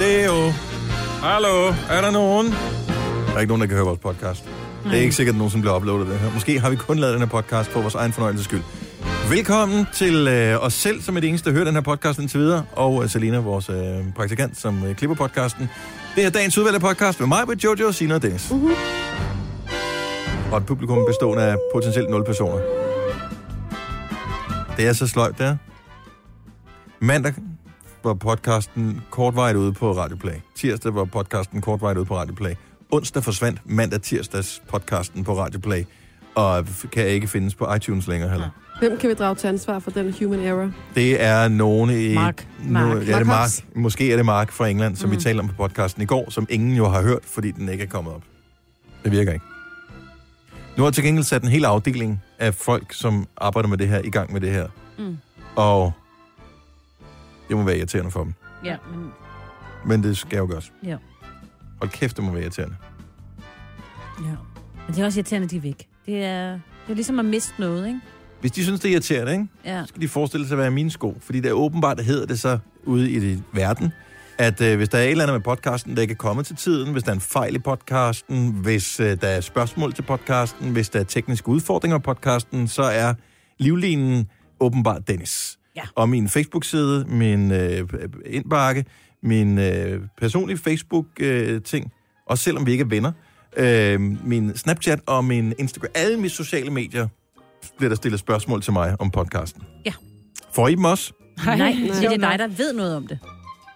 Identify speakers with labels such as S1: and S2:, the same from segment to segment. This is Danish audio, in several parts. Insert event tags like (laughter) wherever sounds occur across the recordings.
S1: Heyo. Hallo, er der nogen? Der er ikke nogen, der kan høre vores podcast. Det er ikke sikkert, at nogen som bliver uploadet det her. Måske har vi kun lavet den her podcast for vores egen fornøjelses skyld. Velkommen til øh, os selv, som er det eneste, der hører den her podcast indtil videre, og øh, Selina, vores øh, praktikant, som øh, klipper podcasten. Det er dagens udvalgte podcast med mig, med Jojo, Sina og Dennis. Uh-huh. Og et publikum bestående af potentielt 0 personer. Det er så sløjt, det er. Mandag var podcasten kortvejt ude på Radioplay. Tirsdag var podcasten kortvejt ude på Radioplay. Onsdag forsvandt mandag tirsdags podcasten på Radioplay, og kan ikke findes på iTunes længere heller.
S2: Hvem kan vi drage til ansvar for den human error?
S1: Det er nogen i...
S3: Mark.
S1: No,
S3: Mark.
S1: Ja, det er Mark.
S3: Mark
S1: Måske er det Mark fra England, som mm. vi talte om på podcasten i går, som ingen jo har hørt, fordi den ikke er kommet op. Det virker ikke. Nu har jeg til gengæld sat en hel afdeling af folk, som arbejder med det her, i gang med det her.
S3: Mm.
S1: Og det må være irriterende for dem.
S3: Ja, men
S1: Men det skal jo gøres.
S3: Ja.
S1: Hold kæft, det må være irriterende.
S3: ja. Men det er også irriterende, at de er væk. Det er, det er ligesom at miste noget, ikke?
S1: Hvis de synes, det er irriterende, ikke?
S3: Ja.
S1: så skal de forestille sig at være mine sko. Fordi det er åbenbart, hedder det så ude i det verden, at øh, hvis der er et eller andet med podcasten, der ikke er kommet til tiden, hvis der er en fejl i podcasten, hvis øh, der er spørgsmål til podcasten, hvis der er tekniske udfordringer i podcasten, så er livlinen åbenbart Dennis.
S3: Ja.
S1: Og min Facebook-side, min øh, indbakke, min øh, personlige Facebook-ting, også selvom vi ikke er venner, øh, min Snapchat og min Instagram, alle mine sociale medier, bliver der stillet spørgsmål til mig om podcasten.
S3: Ja.
S1: Får I dem også?
S3: Nej, nej,
S2: nej.
S3: det er dig, der ved noget om det.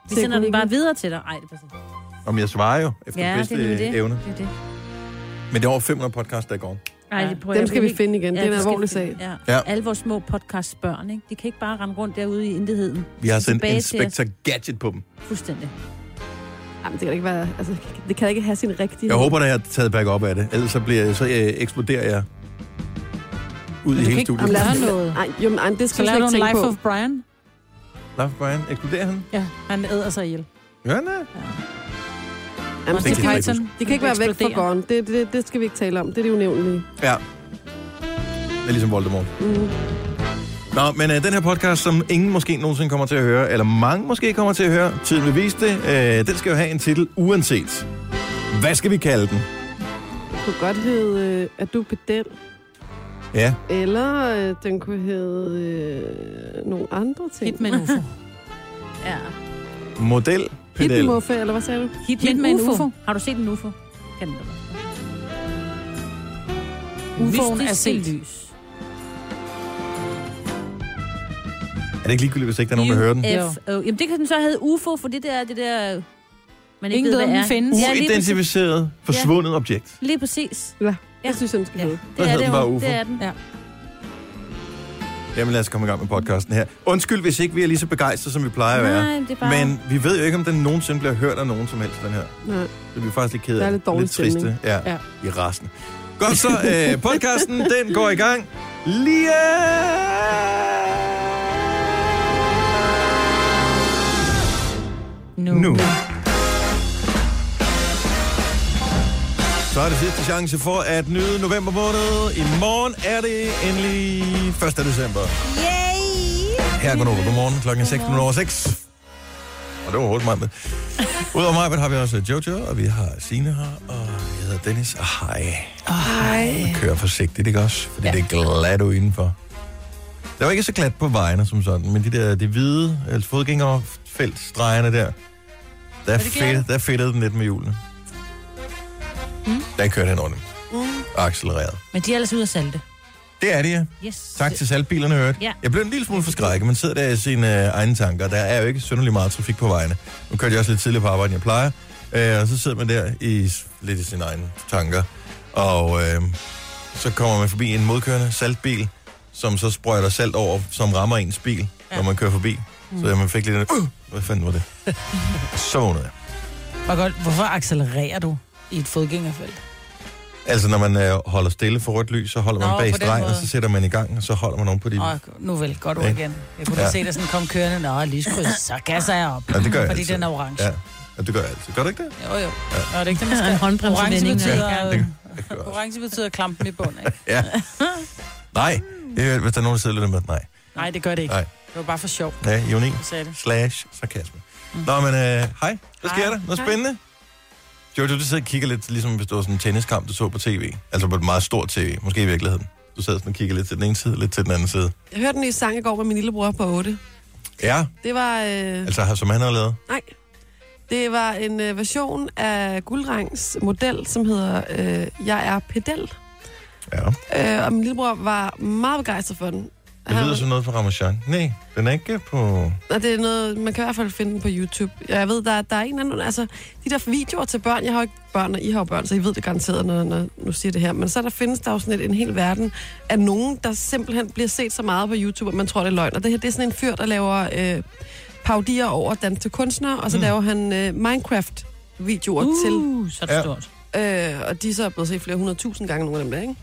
S3: Vi sender den bare videre til dig. Ej, det er præcis.
S1: Om jeg svarer jo efter
S3: Ja,
S1: ja, bedste
S3: det er nemlig det.
S1: det. evne.
S3: Det er det.
S1: Men det er over 500 podcasts, der går.
S3: Ej,
S2: Ja.
S3: det prøver
S2: Dem
S3: jeg
S2: skal vi
S3: ikke.
S2: finde igen. Det er en
S3: det skal
S2: alvorlig
S3: vi finde.
S2: sag.
S3: Ja.
S1: Ja.
S3: ja. Alle vores små podcastbørn, ikke? De kan ikke bare rende rundt derude i intetheden.
S1: Vi har
S3: De skal
S1: sendt
S3: tilbage til
S1: Inspector Gadget på dem.
S3: os. Fuldstændig.
S2: Jamen, det kan da ikke være... Altså, det kan da ikke have sin rigtige...
S1: Jeg håber, at jeg har taget back op af det. Ellers så, bliver, så øh, eksploderer jeg ud i
S3: kan
S1: hele
S3: ikke-
S1: studiet.
S3: Jamen, lad-
S1: Ikke...
S3: Gør noget.
S2: Ej, jo, men, ej, det
S4: Så
S2: skal vi
S4: laver
S2: slet
S4: du
S2: ikke tænke
S4: en Life
S2: på.
S4: of Brian.
S1: Nej, Brian, eksploderer han?
S4: Ja, han æder sig ihjel.
S1: Ja, nej.
S2: Jamen,
S1: Det
S2: det,
S1: kan jeg ikke
S2: kan, det kan ikke være væk fra
S4: Eksploderer.
S2: gården. Det, det, det skal vi ikke tale om. Det er det unævnlige.
S1: Ja. Det er ligesom Voldemort.
S2: Mm.
S1: Nå, men øh, den her podcast, som ingen måske nogensinde kommer til at høre, eller mange måske kommer til at høre, tiden vil vise det, øh, den skal jo have en titel uanset. Hvad skal vi kalde den?
S2: Det kunne godt hedde, øh, at du pedel,
S1: Ja,
S2: eller øh, den kunne hedde øh, nogle andre ting.
S4: Hit med en ufo.
S3: Ja.
S1: model, pedel.
S2: Hitmuffe, eller hvad sagde du?
S3: Hit,
S4: Hit
S3: med en UFO. Har du set en UFO? Kan den da godt.
S4: Ufoen
S3: Mystisk
S4: er set.
S3: lys.
S1: Er det ikke ligegyldigt, hvis ikke der er nogen, der hører den?
S3: UFO. Jamen, det kan den så hedde UFO, for det der, det der... Man ikke
S4: Ingen ved,
S3: hvad
S4: om den
S3: er.
S4: findes.
S3: Mm. Ja, lige præcis.
S1: Uidentificeret, forsvundet ja. objekt.
S3: Lige præcis.
S2: Ja,
S3: Ja.
S2: jeg synes, den skal
S3: Ja,
S2: hedde.
S3: det er
S1: hedder
S3: det
S1: den bare
S3: jo.
S1: UFO?
S3: Det er den.
S4: Ja.
S1: Jamen lad os komme i gang med podcasten her. Undskyld, hvis ikke vi er lige så begejstrede, som vi plejer at være.
S3: Nej, det er bare...
S1: Men vi ved jo ikke, om den nogensinde bliver hørt af nogen som helst, den her.
S2: Nej.
S1: Så vi er faktisk lidt ked af
S2: Der er
S1: det.
S2: lidt dårlig
S1: lidt triste
S2: stemning.
S1: ja, ja.
S4: Ja.
S1: i resten. Godt så, øh, podcasten den går i gang lige
S4: Nu.
S1: nu. Så er det sidste chance for at nyde november måned. I morgen er det endelig 1. december.
S3: Yay!
S1: Her går over. Godmorgen. Klokken er 6 minutter over 6. Og det var hurtigt meget med. Udover mig har vi også Jojo, og vi har Sine her, og jeg hedder Dennis. Og hej. Hej. Kør forsigtigt, ikke også? Fordi ja. det er glat ude indenfor. Der var ikke så glat på vejene som sådan, men de der de hvide altså fodgængerfeltstregerne der, der,
S4: det glat?
S1: fedt, der fedtede den lidt med hjulene. Mm. Der kørte han under dem. Mm. Accelereret.
S3: Men de er ellers ude at salte.
S1: Det er det, ja.
S3: (laughs) Yes.
S1: Tak til salgbilerne, hørt. Ja.
S3: Ja.
S1: Jeg blev en lille smule forskrækket, men sidder der i sine øh, egne tanker. Der er jo ikke synderlig meget trafik på vejene. Nu kørte jeg også lidt tidligere på arbejde, end jeg plejer. Øh, og så sidder man der i s- lidt i sine egne tanker. Og øh, så kommer man forbi en modkørende saltbil, som så sprøjter salt over, som rammer ens bil, ja. når man kører forbi.
S4: Mm.
S1: Så man fik lidt en, uh, hvad fanden var
S4: (laughs)
S1: det? så vågnede jeg.
S4: Hvor godt, hvorfor accelererer du i et fodgængerfelt?
S1: Altså, når man øh, holder stille for rødt lys, så holder man
S4: Nå,
S1: bag
S4: på den
S1: stregen, og
S4: måde.
S1: så sætter man i gang, og så holder man oven på de...
S4: Åh, nu vel, godt ord
S1: Ikke?
S4: igen. Jeg kunne
S1: Ja.
S4: ja. se dig sådan komme kørende. Nå, lyskryds, så gasser jeg op.
S1: Ja, det gør jeg
S4: Fordi
S1: altid.
S4: den er orange.
S1: Ja,
S4: Ja.
S1: ja det gør jeg altid. Gør du ikke det?
S4: Jo, jo. Nå, det er ikke det, man
S3: En
S4: skal. Orange
S3: håndbremsevending.
S4: betyder,
S1: Ja,
S4: øh,
S1: Det gør jeg også.
S4: (laughs) orange betyder klampen i bunden. ikke?
S1: Ja. Nej. Øh, Hvis der er nogen, der sidder lidt med, nej.
S4: Nej, det gør det ikke.
S1: Nej.
S4: Det var bare for sjov,
S1: Ja, ironi
S4: du sagde det.
S1: slash sarkasme.
S2: Mm.
S1: Nå, men øh, hej. Hvad sker
S3: Hej.
S1: der? Noget
S3: Hej.
S1: spændende? Jojo, du sidder og kigger lidt, ligesom hvis det var sådan en tenniskamp, du så på tv. Altså på et meget stort tv, måske i virkeligheden. Du sad sådan og kigger lidt til den ene side, lidt til den anden side.
S2: Jeg hørte en ny sang i går med min lillebror på 8.
S1: Ja,
S2: Det var... Øh,
S1: altså har- som han har lavet.
S2: nej. Det var en øh, version af Guldrangs model, som hedder øh, Jeg er pedel.
S1: Ja.
S2: Øh, og min lillebror var meget begejstret for den.
S1: Det lyder som noget fra Ramachan. Nej, den er ikke på...
S2: Og det er noget, man kan i hvert fald finde den på YouTube. Ja, Jeg ved, der, er- der er en eller anden... Altså, de der videoer til børn, jeg har jo ikke børn, og I har jo børn, så I ved det garanteret, når, når nu siger det her. Men så der findes der jo sådan et, en hel verden af nogen, der simpelthen bliver set så meget på YouTube, at man tror, det er løgn. Og det her, det er sådan en fyr, der laver øh, paudier over dans til kunstnere, og så
S1: Mm.
S2: mm. laver han øh, Minecraft-videoer uh. til
S3: Uh, så er det
S1: Ja.
S3: stort.
S2: Øh, og de er så blevet set flere hundredtusind gange, nogle af dem der, ikke?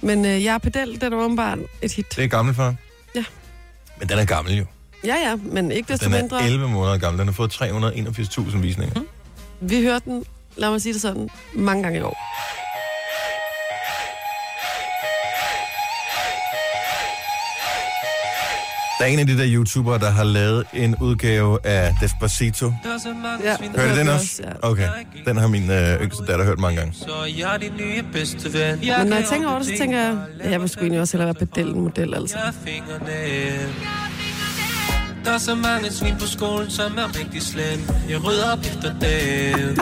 S2: Men øh, jeg er pedel, den er åbenbart et hit.
S1: Det er gammel, far.
S2: Ja.
S1: Men den er gammel jo.
S2: Ja, ja, men ikke desto
S1: Den
S2: mindre. Mm.
S1: er 11 måneder gammel. Den har fået 381.000 visninger.
S2: Vi hørte den, lad mig sige det sådan, mange gange i år.
S1: Der er en af de der YouTubere, der har lavet en udgave af Despacito.
S2: Ja,
S1: Hørte I den
S2: vi
S1: også?
S2: Ja.
S1: Okay. Den har min øh, yngste datter hørt mange gange.
S5: Så jeg er din nye bedste ven.
S2: Men når jeg tænker over det, så tænker jeg, at jeg vil sgu egentlig også hellere være pedel end model, altså.
S5: Jeg er fingrene. Der er så mange svin på skolen, som er rigtig slem. Jeg rydder op efter
S2: (laughs)
S5: dem.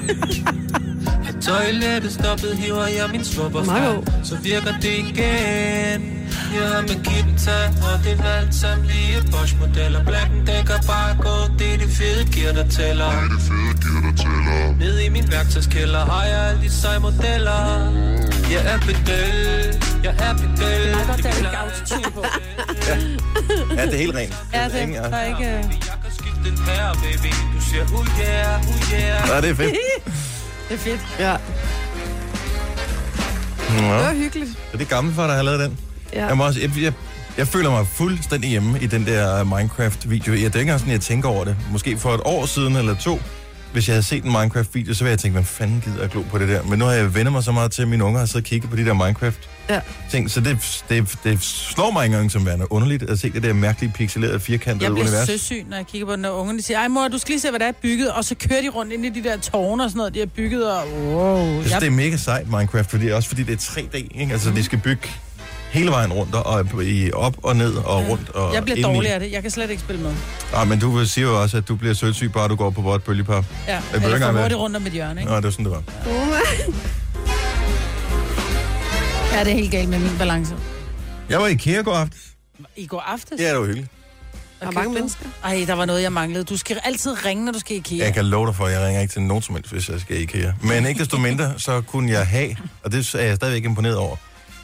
S5: Er toilettet stoppet, hiver jeg min svupper
S2: Meget god.
S5: frem. Så virker det igen. Jeg har med guitar, og det er alt sammen lige et Bosch-modeller. Blacken dækker bare gå, det er det fede gear, der tæller. Det er det fede gear, der tæller. Ned i min værktøjskælder har jeg alle de seje modeller. Jeg er pedel, jeg er pedel. Det er
S3: der er lidt
S5: gavt på.
S1: Ja, det er helt rent. Ja, det er,
S4: Der er ikke... øh,
S5: (laughs) Jeg kan skifte den her, baby. Du siger, oh yeah, oh yeah.
S1: ja, det er (laughs) fedt.
S3: Det er fedt.
S2: Ja,
S1: Nå.
S2: det var hyggeligt.
S1: Så det er gammel far, der har lavet den.
S2: Ja.
S1: Jeg, må også, jeg, jeg, jeg føler mig fuldstændig hjemme i den der Minecraft-video. Jeg, det er ikke engang sådan, jeg tænker over det. Måske for et år siden eller to, hvis jeg havde set en Minecraft-video, så ville jeg tænke, hvad fanden gider jeg glo på det der? Men nu har jeg vendt mig så meget til, at mine unger har siddet og kigget på de der Minecraft
S2: Ja.
S1: ting, så det, det, det slår mig ikke engang som værende underligt at se det der mærkelige pixelerede firkantede
S4: Jeg bliver
S1: univers.
S4: søsyg, når jeg kigger på den, og ungerne siger, ej mor, du skal lige se, hvad der er bygget, og så kører de rundt ind i de der tårne og sådan noget, de har bygget, og wow.
S1: Jeg synes,
S4: Jeg,
S1: det er mega sejt, Minecraft, fordi, også fordi det er 3D, ikke? Altså,
S4: Mhm.
S1: de skal bygge hele vejen rundt, og i op og ned og rundt. Og
S4: jeg bliver
S1: ind i.
S4: dårlig af det, jeg kan slet ikke spille med.
S1: Ah, men du siger jo også, at du bliver sødsyg, bare du går på vort bølgepap.
S4: Ja,
S1: behøver ikke
S4: eller
S1: engang
S4: for
S1: være-
S4: hurtigt rundt om et hjørne, ikke?
S1: Nå, det var sådan, det var.
S4: Ja, det er helt galt med min balance.
S1: Jeg var i IKEA i går aften.
S4: I går aftes?
S1: Ja, det var hyggeligt.
S2: Der er mange mennesker.
S4: Ej, der var noget, jeg manglede. Du skal altid ringe, når du skal i IKEA.
S1: Jeg kan love dig for, at jeg ringer ikke til nogen som helst, hvis jeg skal i IKEA. Men ikke desto mindre, så kunne jeg have, og det er jeg stadigvæk imponeret over,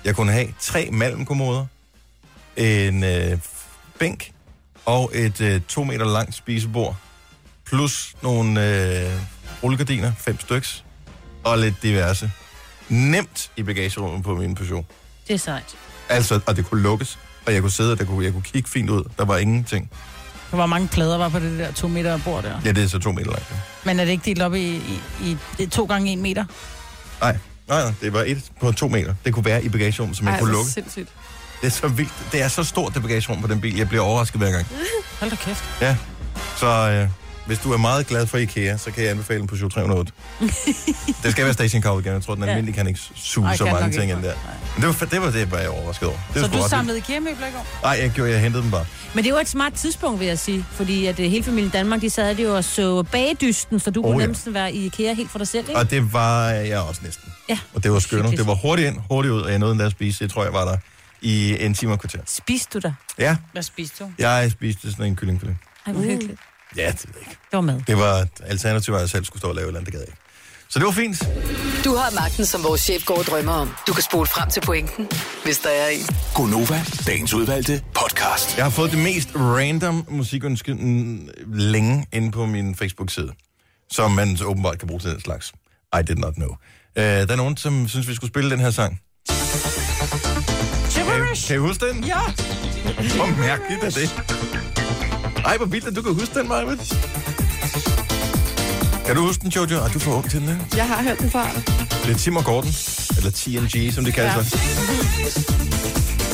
S1: jeg kunne have tre malmkommoder, en øh, bænk og et øh, to meter langt spisebord, plus nogle øh, rullegardiner, fem styks, og lidt diverse. Nemt i bagagerummet på min Peugeot.
S3: Det er sejt.
S1: Altså, og det kunne lukkes, og jeg kunne sidde, og der kunne, jeg kunne kigge fint ud. Der var ingenting.
S4: Der var mange plader var på det der to meter bord der.
S1: Ja, det er så to meter langt. ja.
S4: Men er det ikke delt op i, i, i, i to gange en meter?
S1: Nej, nej, nej, det var et på to meter. Det kunne være i bagagerummet, som jeg
S2: Ej,
S1: kunne
S2: hvor
S1: lukke.
S2: sindssygt.
S1: Det er så vildt. Det er så stort, det bagagerum på den bil. Jeg bliver overrasket hver gang.
S4: Mm. Hold da kæft.
S1: Ja, så øh, hvis du er meget glad for IKEA, så kan jeg anbefale den på
S4: (laughs)
S1: 308. det skal være stationcar igen. Jeg tror, den almindelige kan ikke suge
S4: Ej,
S1: Uh, så
S4: kan
S1: mange
S4: nok
S1: ting
S4: ikke.
S1: ind der. Men det var, det var det, var jeg overrasket over. Det var
S4: Så
S1: sgu
S4: du
S1: ret
S4: samlede IKEA-møbler i går?
S1: vildt. Ej, jeg gjorde, jeg hentede dem bare.
S3: Men det var et smart tidspunkt, vil jeg sige. Fordi at øh, hele familien Danmark, de sad jo og så bagdysten, så du
S1: Oh,
S3: oh, kunne
S1: ja.
S3: nemt sådan være i IKEA helt for dig selv, ikke?
S1: Og det var jeg også næsten.
S3: Ja.
S1: Og det var skønt.
S3: Hyggeligt.
S1: Det var hurtigt ind, hurtigt ud, og jeg nåede endda at spise. Det tror jeg var der i en time og et kvarter.
S3: Spiste du dig?
S1: Ja,
S4: Hvad spiste du?
S1: jeg spiste sådan en kyllingfilet.
S3: Ej, hvor hyggeligt.
S1: Ja, det ved jeg ikke.
S3: Det var mad.
S1: Det var alternativet, at jeg selv skulle stå og lave et eller andet, det gad jeg ikke. Så det var fint.
S6: Du har magten, som vores chef går og drømmer om. Du kan spole frem til pointen, hvis der er en.
S7: Gonova, dagens udvalgte podcast.
S1: Jeg har fået det mest random musikønske mm, længe inde på min Facebook-side, som man så åbenbart kan bruge til den slags. I did not know. Uh, der er nogen, som synes, vi skulle spille den her sang. Kan, I- kan I huske den?
S4: Ja!
S1: Hvor mærkeligt er det? Ej, hvor vildt, at du kan huske den, Marvitt. Kan du huske den, Jojo? Ej, du får ung til den, ikke?
S2: Jeg har hørt den før.
S1: Det er Tim og Gordon, eller TNG, som de kalder ja. sig.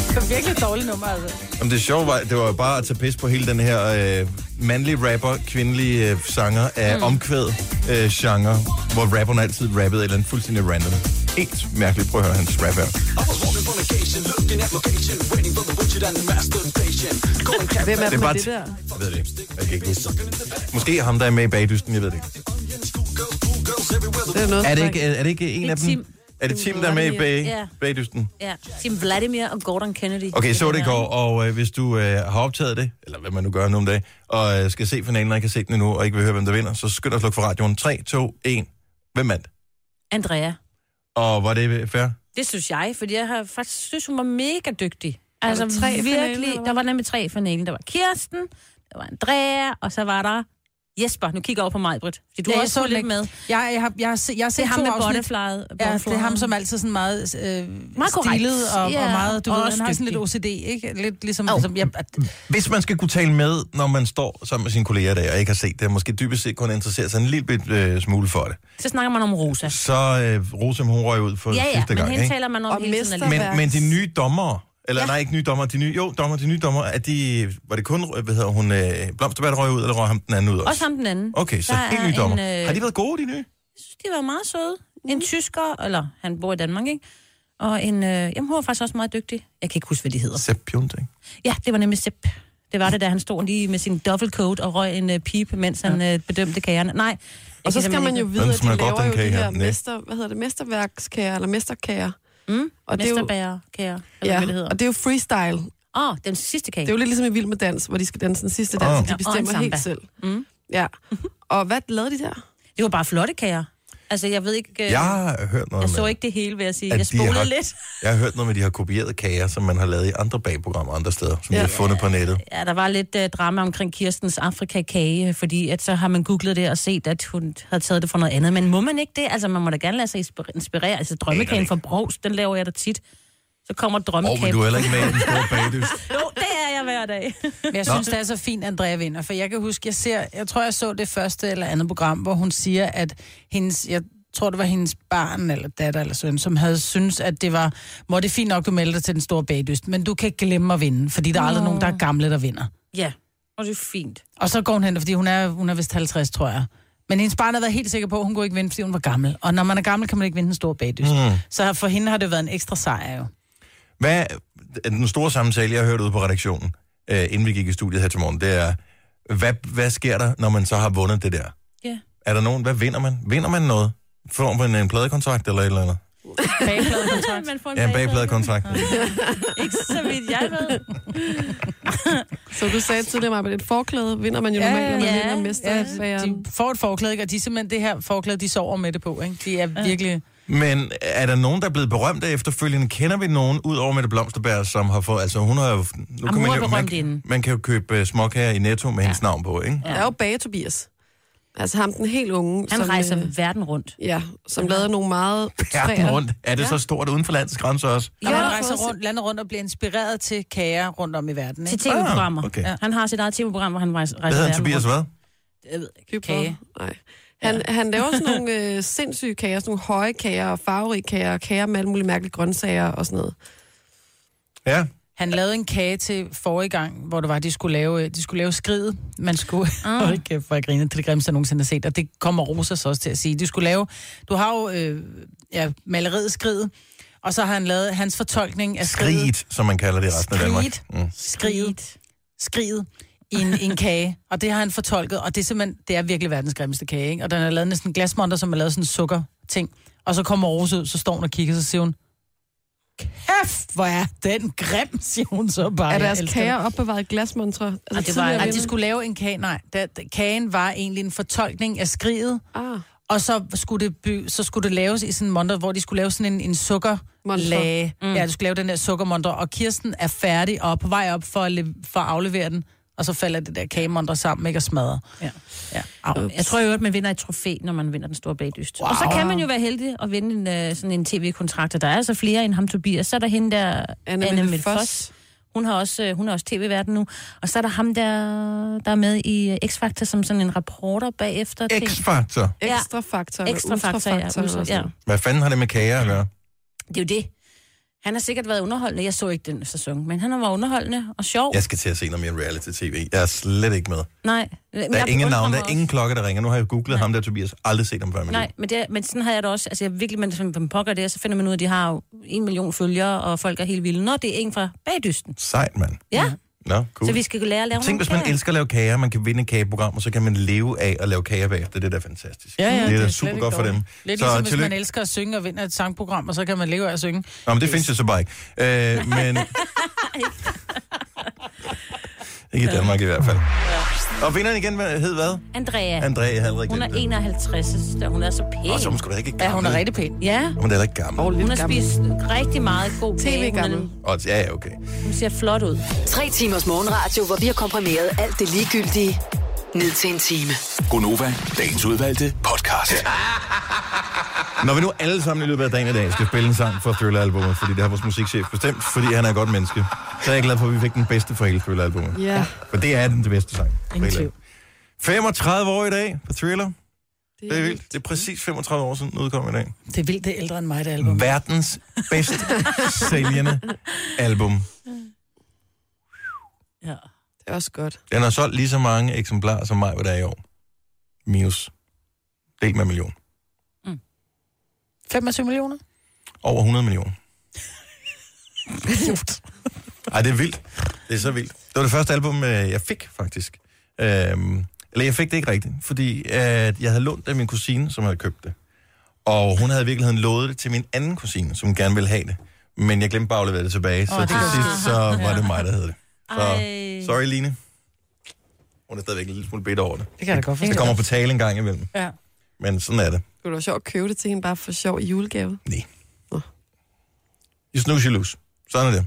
S4: Det var virkelig et dårligt nummer, altså.
S1: Jamen, det sjove var, det var jo bare at tage pis på hele den her øh, mandlige rapper, kvindelige øh, sanger af mm. omkvæd øh, genre, hvor rapperen altid rappede et eller andet fuldstændig random. Helt mærkeligt. Prøv at høre hans rap her.
S2: Hvem er
S1: Det er
S2: det, med
S1: bare
S2: det
S1: t-
S2: der?
S1: Jeg ved det ikke. Jeg kan ikke huske. det. Måske ham, der er med i bagdysten, jeg ved det ikke.
S2: Det er, noget,
S1: Er det
S2: der
S1: ikke, er det ikke en
S3: Det er
S1: af dem?
S3: Tim.
S1: Er det Tim, der er med i bag,
S3: Ja.
S1: bagdysten?
S3: Ja, Tim Vladimir og Gordon Kennedy.
S1: Okay, så var det i går, og øh, hvis du øh, har optaget det, eller hvad man nu gør nu om dagen, og øh, skal se finalen, og ikke har set den endnu, og ikke vil høre, hvem der vinder, så skynd dig at slukke for radioen. 3, 2, 1. Hvem vandt?
S3: Andrea.
S1: Og var det øh, fair?
S3: Det synes jeg, fordi jeg har faktisk synes, hun var mega dygtig. Altså
S2: der tre i
S3: tre
S2: finalen,
S3: virkelig,
S2: eller hvad?
S3: der var nemlig tre i finalen. Der var Kirsten, der var Andrea, og så var der Jesper. Nu kigger jeg over på mig, Britt, fordi du ja,
S4: jeg
S3: også
S4: så
S3: så lidt
S4: den
S3: med.
S4: Jeg, jeg, har, jeg, har, se- jeg har set
S3: Det er ham
S4: to
S3: med
S4: afsnit.
S3: butterflyet.
S4: Ja, det er ham, som altid sådan meget, øh, meget
S3: Meget korrekt.
S4: stilet og,
S3: Ja,
S4: og meget, du
S3: og
S4: ved,
S3: også
S4: han har sådan lidt
S3: dygtig.
S4: OCD, ikke? Lidt ligesom,
S3: Au.
S4: oh. som, jeg, at,
S1: Hvis man skal kunne tale med, når man står sammen med sine kolleger der, og ikke har set det, og måske dybest set kun interesserer sig en lille bit, øh, smule for det,
S3: Så snakker man om Rosa.
S1: så øh, Rosa, hun røg ud for
S3: Ja, ja,
S1: sidste
S3: men
S1: gang,
S3: hende
S1: ikke?
S3: taler man om
S2: Og
S3: hele tiden.
S2: mister-
S3: alligevel.
S1: Men, men de nye dommere, eller ja.
S3: Ja.
S1: nej, ikke nye dommere, de nye, jo, dommer, de nye dommer, er de, var det kun, hvad hedder hun, øh, Blomsterbat røg ud, eller røg ham den anden ud også?
S3: Også ham den anden.
S1: Okay, så
S3: Der
S1: helt
S3: er
S1: nye dommer.
S3: en,
S1: øh...
S3: øh,
S1: Har de været gode, de nye?
S3: Jeg synes, de var meget søde. En tysker, eller han bor i Danmark, ikke? Og en, øh, jamen, hun var faktisk også meget dygtig. Jeg kan ikke huske, hvad de hedder.
S1: Sepp Pjonting.
S3: Ja, det var nemlig Sepp. Det var det, da han stod lige med sin double coat og røg en øh, pipe, mens han øh, bedømte kagerne. Nej. jeg
S2: Og
S3: kan
S2: så skal
S3: simpelthen
S2: man jo
S3: ikke-
S2: vide, at de
S1: smager
S2: laver
S1: godt, den
S2: jo de
S1: kage her.
S2: her
S1: Næ.
S2: mester, hvad hedder det, mesterværkskager eller mesterkager.
S3: Mm,
S2: Og det er jo,
S3: Mesterbærer, kære. Ja. Hvad det
S2: ja,
S3: hedder.
S2: og det er jo freestyle.
S3: Åh, oh, den sidste kage.
S2: Det er jo lidt ligesom i Vild med Dans, hvor de skal danse den sidste dans,
S1: Åh.
S2: oh.
S1: Ja,
S2: de
S3: og en
S2: bestemmer
S3: samba.
S2: helt selv.
S3: Mm.
S2: Ja. Og hvad lavede de der?
S3: Det var bare flotte kager. Altså, jeg ved ikke... Øh,
S1: Jeg har hørt noget
S3: jeg så
S1: med,
S3: ikke det hele, vil jeg sige.
S1: At
S3: Jeg
S1: de har-
S3: spolede lidt.
S1: jeg har hørt noget med, at de har kopieret kager, som man har lavet i andre bagprogrammer andre steder, som ja. de
S2: Ja.
S1: har fundet på nettet.
S3: Ja, der var lidt øh, drama omkring Kirstens Afrika-kage, fordi at så har man googlet det og set, at hun havde taget det for noget andet. Men må man ikke det? Altså, man må da gerne lade sig inspir- inspirere. Altså,
S1: Aner
S3: drømmekagen
S1: det
S3: fra Brogs, den laver jeg da tit. Så kommer
S1: Åh,
S3: drømmekagen.
S1: oh, men du er heller ikke med i den store bagdyst.
S3: (laughs) Jo, det er jeg hver
S1: (laughs)
S3: dag.
S4: men jeg synes, det er så fint, Andrea vinder, for jeg kan huske, jeg ser, jeg tror, jeg så det første eller andet program, hvor hun siger, at hendes, jeg tror, det var hendes barn eller datter eller søn, som havde syntes, at det var, må det er fint nok, du melder dig til den store bagdyst, men du kan ikke glemme at vinde, fordi der er aldrig nogen, der er gamle, der vinder.
S3: ja, og det er fint.
S4: Og så går hun hen, fordi hun er, hun er vist 50, tror jeg. Men hendes barn har været helt sikker på, at hun kunne ikke vinde, fordi hun var gammel. Og når man er gammel, kan man ikke vinde en stor bagdyst. Mm. Så for hende har det været en ekstra sejr jo.
S1: Hmm. Hvad er den store samtale, jeg har hørt ude på redaktionen, øh, inden vi gik i studiet her til morgen, det er, hvad, hvad sker der, når man så har vundet det der?
S3: Ja.
S1: Er der nogen, hvad vinder man? Vinder man noget? Får man en pladekontrakt eller et eller andet?
S3: (laughs)
S4: Bagpladekontrakt.
S3: Man får
S1: Ja, en bagpladekontrakt.
S3: Ikke så vidt jeg ved.
S2: Så du sagde tidligere, Maja, at et forklæde vinder man jo
S4: Ja,
S2: normalt, når man
S3: ja,
S2: vinder
S4: Ja,
S2: mesterværeren.
S4: de får et forklæde, ikke? og de er simpelthen det her forklæde, de sover med det på. Ikke? De er virkelig...
S1: Men er der nogen, der er blevet berømt af efterfølgende? Kender vi nogen, ud over Mette Blomsterberg, som har fået... Altså, hun har jo... Nu
S3: hun er
S1: jo
S3: berømt
S1: man,
S3: inden.
S1: man kan jo købe uh, småkager i Netto med ja. hendes navn på, ikke?
S2: Der er jo Bage Tobias. Altså ham, den helt unge.
S3: Han
S2: som,
S3: rejser
S2: øh,
S3: verden rundt.
S2: Ja, som lavede nogle meget...
S1: Verden
S2: frære-
S1: rundt. Er det så stort uden for landets grænser også?
S4: Og
S3: Ja,
S4: man rejser
S2: for-
S4: rundt, lander rundt og bliver inspireret til kager rundt om i verden.
S3: Til
S4: Ikke?
S3: tv-programmer.
S1: Ah, okay.
S3: Ja. Han har sit eget tv-program, hvor han rejser,
S1: Hvad
S3: rejser
S1: hedder han,
S3: verden
S1: Tobias
S3: rundt.
S1: hvad?
S3: Jeg ved ikke.
S2: Køber.
S3: Kage.
S2: Nej. Han, ja. han laver sådan nogle øh, sindssyge kager, sådan nogle høje kager og farverige kager, og kager med alle mulige mærkelige grøntsager og sådan noget.
S1: Ja.
S4: Han lavede en kage til forrige gang, hvor det var, de skulle lave, øh, de skulle lave skridet. Man skulle... Mm.
S3: Ah.
S4: (laughs) Hold kæft, hvor jeg griner. Det er det grimmeste, jeg nogensinde har set. Og det kommer Rosa så også til at sige. De skulle lave... Du har jo øh, ja, maleriet skridet, og så har han lavet hans fortolkning af skridet.
S1: Skriget, som man kalder det i resten af Danmark.
S4: Skriget.
S1: Mm.
S4: Skriget. skriget i en, i en kage, og det har han fortolket, og det er simpelthen, det er virkelig verdens grimmeste kage, ikke? Og den er lavet næsten en glasmonter, som er lavet sådan en sukker ting. Og så kommer Rose ud, så står hun og kigger, så siger hun, kæft, hvor er den grim, (laughs) siger hun så bare.
S2: Er
S4: Jeg
S2: deres
S4: elsker
S2: kager opbevaret i glasmontre? Altså,
S3: det var-
S4: den.
S2: tidligere
S4: Ej, de
S2: vinder-
S4: skulle lave en kage, nej, da, da- kagen var egentlig en fortolkning af skriget,
S2: Ah,
S4: og så skulle det, by, så skulle det laves i sådan en monter, hvor de skulle lave sådan en, en sukker
S2: Montre.
S4: lage. Mm. Ja, du skulle lave den der sukkermonter, og Kirsten er færdig og er på vej op for at, le- for at aflevere den, og så falder det der kagemonter sammen, ikke, og smadrer.
S3: Ja.
S4: Ja. Au.
S3: Jeg tror jo, at man vinder et trofæ, når man vinder den store bagdyst. Wow. Og så kan man jo være heldig at vinde en, øh, sådan en tv-kontrakt, og der er altså flere end ham Tobias. Så er der hende der, Anne, Anne Mette Foss. Hun har også, øh, hun er også tv-verden nu. Og så er der ham der, der er med i øh, X-Factor som sådan en reporter bagefter. til-
S1: X-faktor.
S3: Ja.
S2: Ekstra faktor.
S3: Ekstra
S2: ultrafaktor
S3: faktor, ja,
S2: og sådan
S3: ultra, ja.
S2: noget.
S1: Hvad fanden har det med kager at gøre?
S3: Det er jo det. Han har sikkert været underholdende. Jeg så ikke den sæson, men han var underholdende og sjov.
S1: Jeg skal til at se noget mere reality-tv. Jeg er slet ikke med.
S3: Nej. men
S1: Der er
S3: jeg
S1: ingen
S3: beundrer
S1: navn,
S3: mig
S1: der er
S3: også.
S1: ingen klokke, der ringer. Nu har jeg googlet ham der, Tobias. Aldrig set ham før. i mit
S3: Nej, men, det, men sådan har jeg det også. Altså, jeg virkelig, man, man, man pokker det, og så finder man ud af, at de har jo en million følgere, og folk er helt vilde. Nå, det er en fra bagdysten.
S1: liv. Sejt, mand.
S3: Ja,
S1: Nå, cool.
S3: så vi skal lære at lave
S1: Tænk,
S3: nogle
S1: hvis man
S3: kager.
S1: elsker at lave kager, man kan vinde et kageprogram, og så kan man leve af at lave kager bagefter. Det er da fantastisk. det er da
S4: slet
S1: super
S4: ikke
S1: godt for dem.
S4: dårligt. Lidt
S1: så
S4: ligesom, hvis man elsker at synge og vinder et sangprogram, og så kan man leve af at synge.
S1: Nå, men det findes jo så bare ikke. Øh,
S4: (laughs)
S1: men... ikke i Danmark i hvert fald. Og vinderen igen hvad- hed hvad?
S3: Andrea.
S1: Andrea Halrik.
S3: Hun er 51, jeg synes, da hun er så pæn.
S1: Og så er hun sgu da ikke gammel.
S4: Ja, hun er rigtig pæn.
S3: Ja,
S1: Hun er heller ikke gammel.
S3: hun har spist rigtig meget god kage. Hun, er-
S1: Og, ja, ja, okay.
S3: hun ser flot ud.
S6: Tre timers morgenradio, hvor vi har komprimeret alt det ligegyldige ned til en time.
S7: Gonova, dagens udvalgte podcast.
S1: Når vi nu alle sammen i løbet af dagen i dag skal spille en sang fra Thriller-albumet, fordi det har vores musikchef bestemt, fordi han er et godt menneske, så er jeg glad for, at vi fik den bedste fra hele Thriller-albumet.
S2: Ja,
S1: For det er den bedste sang.
S3: Ingen tvivl.
S1: 35 år i dag på Thriller.
S2: det
S1: Det er
S2: er
S1: vildt. Det er præcis 35 år siden, den udkom i dag.
S4: Det er vildt, det er ældre end mig, det album.
S1: Verdens bedst sælgende album. Mm.
S3: Ja.
S2: det er også godt.
S1: Den har solgt lige så mange eksemplarer som mig, hvad der er i år. Minus. Del med en million.
S4: 25 millioner?
S1: Over 100 millioner. Ej, det er vildt. Det er så vildt. Det var det første album, øh, jeg fik, faktisk. Øhm, eller jeg fik det ikke rigtigt, fordi at jeg havde lånt det af min kusine, som havde købt det. Og hun havde i virkeligheden lovet det til min anden kusine, som gerne ville have det. Men jeg glemte bare at levere det tilbage, så
S4: Åh, det
S1: til
S4: kan jeg
S1: sidst så var det mig, der havde det. Så,
S3: Ej.
S4: Øh.
S1: sorry, Line. Hun er stadigvæk en lille smule bitter over det.
S4: Det kan jeg da godt
S1: Det kommer på tale en gang imellem,
S4: Ja.
S1: men sådan er det.
S2: Det kunne da være sjovt at købe det til hende bare for sjov i julegave.
S1: You snooze, you lose. Sådan er det.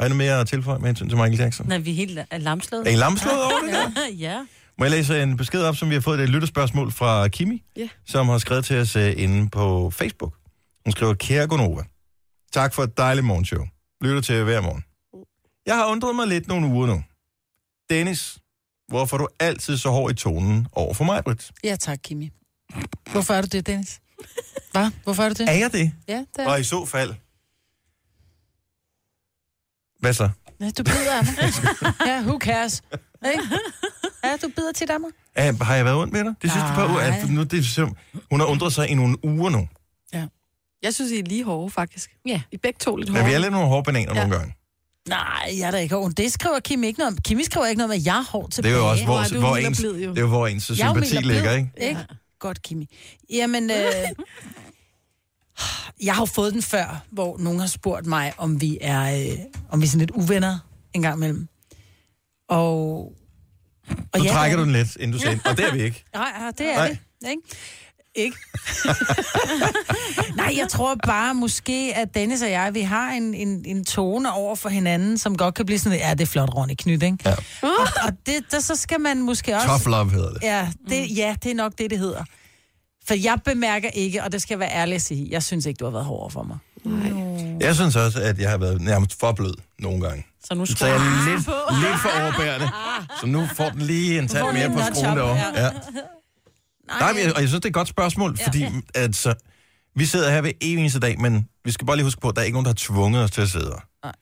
S1: Har I noget mere at tilføje med hensyn til Michael Jackson?
S3: Når vi er helt la- lamslået.
S1: Er I lamslået over det?
S3: ja.
S1: Må jeg læse øh, en besked op, som vi har fået? Det er et lytterspørgsmål fra Kimi,
S2: Ja.
S1: som har skrevet til os uh, inde på Facebook. Hun skriver, kære Gonova, tak for et dejligt morgenshow. Lytter til jer hver morgen. Jeg har undret mig lidt nogle uger nu. Dennis, hvorfor er du altid så hård i tonen over for mig, Britt?
S4: Ja, tak, Kimi. Hvorfor er du det, Dennis? Hvad? Hvorfor er du det?
S1: Er jeg det?
S4: Ja, det er.
S1: Og i så fald... Hvad så?
S4: Ja, du bider af mig. ja, who cares? Ikke? Ja, du bider tit af mig.
S1: Er, har jeg været ondt med dig? Det synes du par uger? Er, nu, det er, sim- hun har undret sig i nogle uger nu.
S2: Jeg synes, I er lige hårde, faktisk.
S3: Ja.
S2: I er begge to lidt
S1: Men vi
S2: hårde.
S1: er lidt nogle hårde bananer
S2: Ja.
S1: nogle gange.
S4: Nej, jeg er da ikke hård. Det skriver Kim ikke noget om. Kimi skriver ikke noget om, at jeg er hård
S1: Det
S4: tilbage.
S1: er jo også,
S2: Hvor
S1: hvor,
S2: er du
S1: hvor,
S2: mild og
S1: ens,
S2: blid, jo.
S1: det er jo, hvor ens
S4: Jeg er jo
S1: sympati
S4: mild og blid,
S1: ligger, ikke?
S4: ikke? Godt, Kimi. Jamen, øh, jeg har jo fået den før, hvor nogen har spurgt mig, om vi er, øh, om vi er sådan lidt uvenner en gang imellem. Og, og
S1: Nu
S4: ja,
S1: trækker
S4: det
S1: du den
S4: er-
S1: lidt, inden du siger, og det er vi ikke.
S4: Nej, ja, det er
S1: Nej.
S4: Nej. det. Ikke? Ikke? (laughs) Nej, jeg tror bare måske, at Dennis og jeg, vi har en, en, en tone over for hinanden, som godt kan blive sådan, ja, det er flot, Ronny Knyt, ikke? Ja. Og, og det, der, så skal man måske (laughs) også...
S1: Tough love hedder det.
S4: Ja, det, ja, det er nok det, det hedder. For jeg bemærker ikke, og det skal jeg være ærlig at sige, jeg synes ikke, du har været hård over for mig.
S1: Jeg synes også, at jeg har været nærmest for blød nogle gange.
S3: Så nu
S1: Så
S3: skal
S1: jeg
S3: jeg...
S1: er lidt, lidt for overbærende. Så nu får den lige en tand mere på
S4: lidt
S1: skruen
S4: notch up,
S1: derovre.
S4: ja.
S1: Ja. Nej, men jeg, og jeg synes, det er et godt spørgsmål, fordi altså, vi sidder her ved evig eneste dag, men vi skal bare lige huske på, at der er ikke nogen, der har tvunget os til at sidde her.
S4: Nej.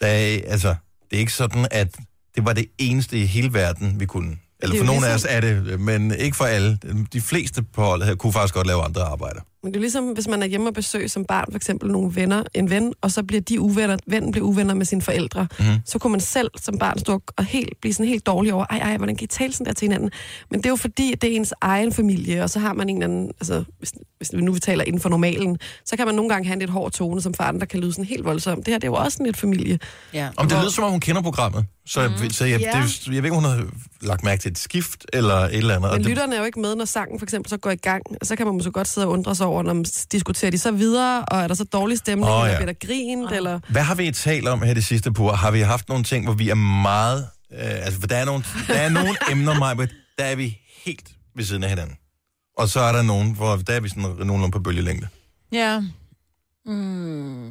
S1: Der er, altså, det er ikke sådan, at det var det eneste i hele verden, vi kunne. Eller
S2: Det er
S1: for
S2: jo
S1: nogle af os
S2: ligesom-
S1: er det, men ikke for alle. De fleste på holdet her kunne faktisk godt lave andre arbejder.
S2: Men det er ligesom, hvis man er hjemme og besøger som barn, for eksempel nogle venner, en ven, og så bliver de uvenner, vennen bliver uvenner med sine forældre,
S1: Mhm.
S2: mm. så kunne man selv som barn stå og helt, blive sådan helt dårlig over, ej, ej, hvordan kan I tale sådan der til hinanden? Men det er jo fordi, at det er ens egen familie, og så har man en eller anden, altså hvis, hvis nu vi taler inden for normalen, så kan man nogle gange have en lidt hård tone, som for andre kan lyde sådan helt voldsomt. Det her, det er jo også en lidt familie.
S4: Ja.
S1: Om det lyder som om, hun kender programmet. Så, mm. så jeg,
S2: Ja.
S1: det, jeg ved ikke, om hun har lagt mærke til et skift eller et eller andet. Og
S2: Men
S1: det,
S2: lytterne er jo ikke med, når sangen for eksempel så går i gang, og så kan man måske godt sidde og undre sig over, når man diskuterer de så videre, og er der så dårlig stemning,
S1: Åh,
S2: oh, ja. eller
S1: ja.
S2: bliver der grint, oh. eller...
S1: Hvad har vi talt om her de sidste par uger? Har vi haft nogle ting, hvor vi er meget... Øh, altså, for der er nogle, der er
S4: (laughs)
S1: nogle emner, Majbert, der er vi helt ved siden af hinanden. Og så er der nogen, hvor der er vi sådan nogenlunde på bølgelængde.
S4: ja. Mm.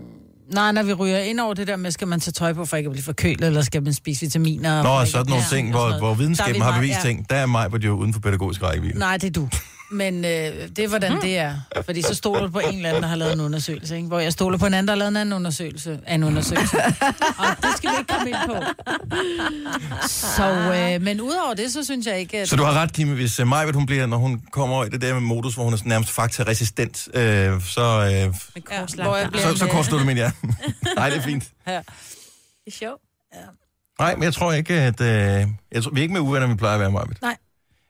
S4: Nej, når vi ryger ind over det der med, skal man tage tøj på, for ikke at blive forkølet, eller skal man spise vitaminer?
S1: Nå,
S4: for
S1: og
S4: ikke
S1: sådan
S4: at-
S1: nogle
S4: Ja,
S1: ting,
S4: og sådan
S1: hvor,
S4: noget.
S1: hvor
S4: Der er
S1: videnskaben
S4: vi
S1: har
S4: meget-
S1: bevist ting. Der er Majbert jo uden for pædagogisk rækkevidde.
S4: Nej, det er du. Men øh, det er, hvordan det er. Fordi så stoler du på en eller anden, der har lavet en undersøgelse, ikke? Hvor jeg stoler på en anden, der har lavet en anden undersøgelse af en undersøgelse. Og det skal vi ikke komme ind på. Så, øh, men udover det, så synes jeg ikke, at...
S1: Så du har ret, Kim, hvis uh, Majbet, hun bliver, når hun kommer over i det der med modus, hvor hun er sådan nærmest faktaresistent, øh, så, øh,
S4: Ja, hvor jeg bliver
S1: så, så kortslutter min hjerne. Nej, det er fint.
S4: øh, Ja.
S3: Det er sjovt.
S1: Nej, men jeg tror ikke, at... Øh, jeg tror, vi er ikke mere uvenner, end vi plejer at være, Majbet.
S4: Nej.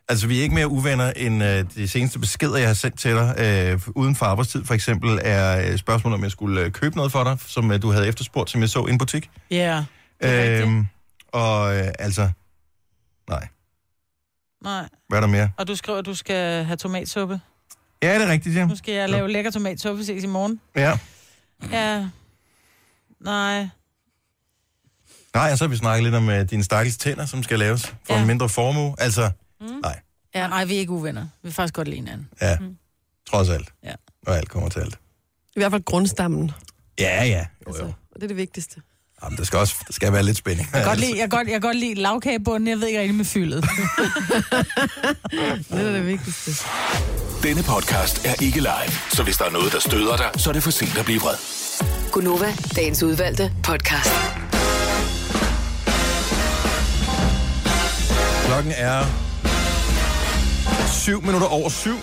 S1: Altså, vi er ikke mere uvenner, end øh, de seneste beskeder, jeg har sendt til dig, øh, uden for arbejdstid for eksempel, er øh, spørgsmålet, om jeg skulle øh, købe noget for dig, som øh, du havde efterspurgt, som jeg så i en butik.
S4: Ja.
S1: Øhm, og øh, altså,
S4: Nej.
S1: hvad er der mere?
S4: Og du skriver, at du skal have tomatsuppe.
S1: Ja, det er rigtigt, ja.
S4: Nu skal jeg lave lækker tomatsuppe, ses i morgen.
S1: ja.
S4: Ja. Nej.
S1: Nej, og så har vi snakket lidt om øh, dine stakkels tænder, som skal laves for ja. en mindre formue. Altså,
S4: Ja, nej, vi er ikke uvenner. Vi er faktisk godt lide hinanden.
S1: ja, mm. trods alt.
S4: Ja.
S1: Når alt kommer til alt.
S2: I hvert fald grundstammen.
S1: Ja, ja. Jo, jo.
S2: Og Altså, det er det vigtigste.
S1: Jamen, der skal også der skal være lidt spænding.
S4: Jeg kan godt lide, jeg kan godt, jeg kan godt lide lavkagebunden, jeg ved ikke rigtig med (laughs) fyldet.
S2: Det er det vigtigste.
S7: Denne podcast er ikke live, så hvis der er noget, der støder dig, så er det for sent at blive vred.
S6: Gunova, dagens udvalgte podcast.
S1: Klokken er 7 minutter over syv.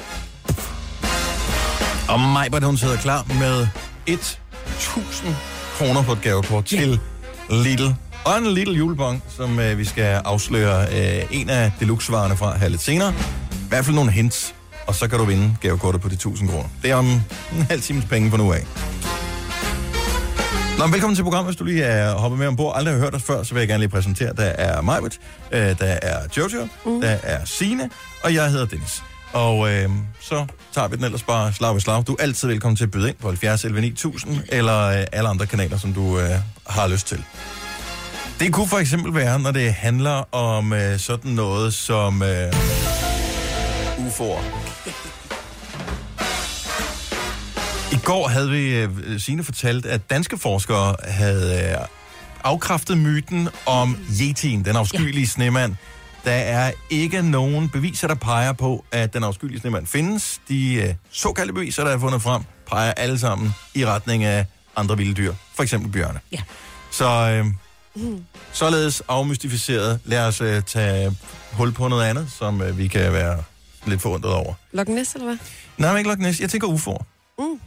S1: Og Majbert, hun sidder klar med 1.000 kroner på et gavekort til Little. Og en Little julebong, som øh, vi skal afsløre øh, en af deluxe-varerne fra her lidt senere. I hvert fald nogle hints, og så kan du vinde gavekortet på de 1.000 kroner. Det er om en halv times penge for nu af. Nå, men velkommen til programmet. Hvis du lige er hoppet med ombord, aldrig har hørt os før, så vil jeg gerne lige præsentere. Der er Majbert, øh, der er Jojo, mm. der er Sine og jeg hedder Dennis. Og øh, så tager vi den ellers bare slag ved slag. Du er altid velkommen til at byde ind på 70 11 9000, eller øh, alle andre kanaler, som du øh, har lyst til. Det kunne for eksempel være, når det handler om øh, sådan noget som øh, UFO'er. I går havde vi, øh, Signe fortalt, at danske forskere havde øh, afkræftet myten om Yeti'en, den afskyelige ja. snemand. Der er ikke nogen beviser, der peger på, at den afskyelige snemand findes. De øh, såkaldte beviser, der er fundet frem, peger alle sammen i retning af andre vilde dyr, for eksempel bjørne.
S3: Ja.
S1: Så øh, således afmystificeret, lad os øh, tage hul på noget andet, som øh, vi kan være lidt forundret over.
S2: Loch Ness, eller hvad?
S1: Nej, men ikke Loch Ness. Jeg tænker UFO'er.
S2: Mm.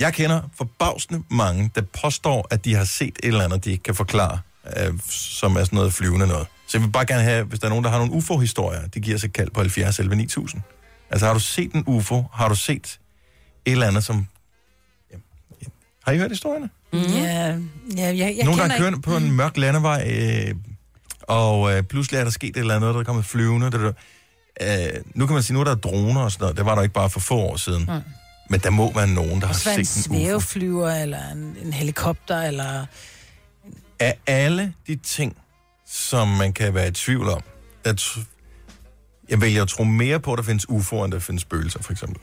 S1: Jeg kender forbavsende mange, der påstår, at de har set et eller andet, de ikke kan forklare, øh, som er sådan noget flyvende noget. Så jeg vil bare gerne have, hvis der er nogen, der har nogle UFO-historier, de giver sig kald på 70 11 9000. Altså, har du set en UFO? Har du set et eller andet, som... Jamen, ja. Har I hørt historierne?
S4: Mm-hmm. Ja, ja jeg, jeg
S1: Nogen, der
S4: kender Mm.
S1: har kørt på en mørk landevej, øh, og øh, pludselig er der sket et eller andet, der er kommet flyvende. Det, det, øh, nu kan man sige, nu er der droner og sådan noget. Det var der ikke bare for få år siden. Mm. Men der må være nogen, der har
S4: Hvad en
S1: set en UFO.
S4: svæveflyver, eller en, en helikopter, eller...
S1: Af alle de ting, som man kan være i tvivl om, at jeg vælger at tro mere på, at der findes UFO'er, end der findes spøgelser, for eksempel.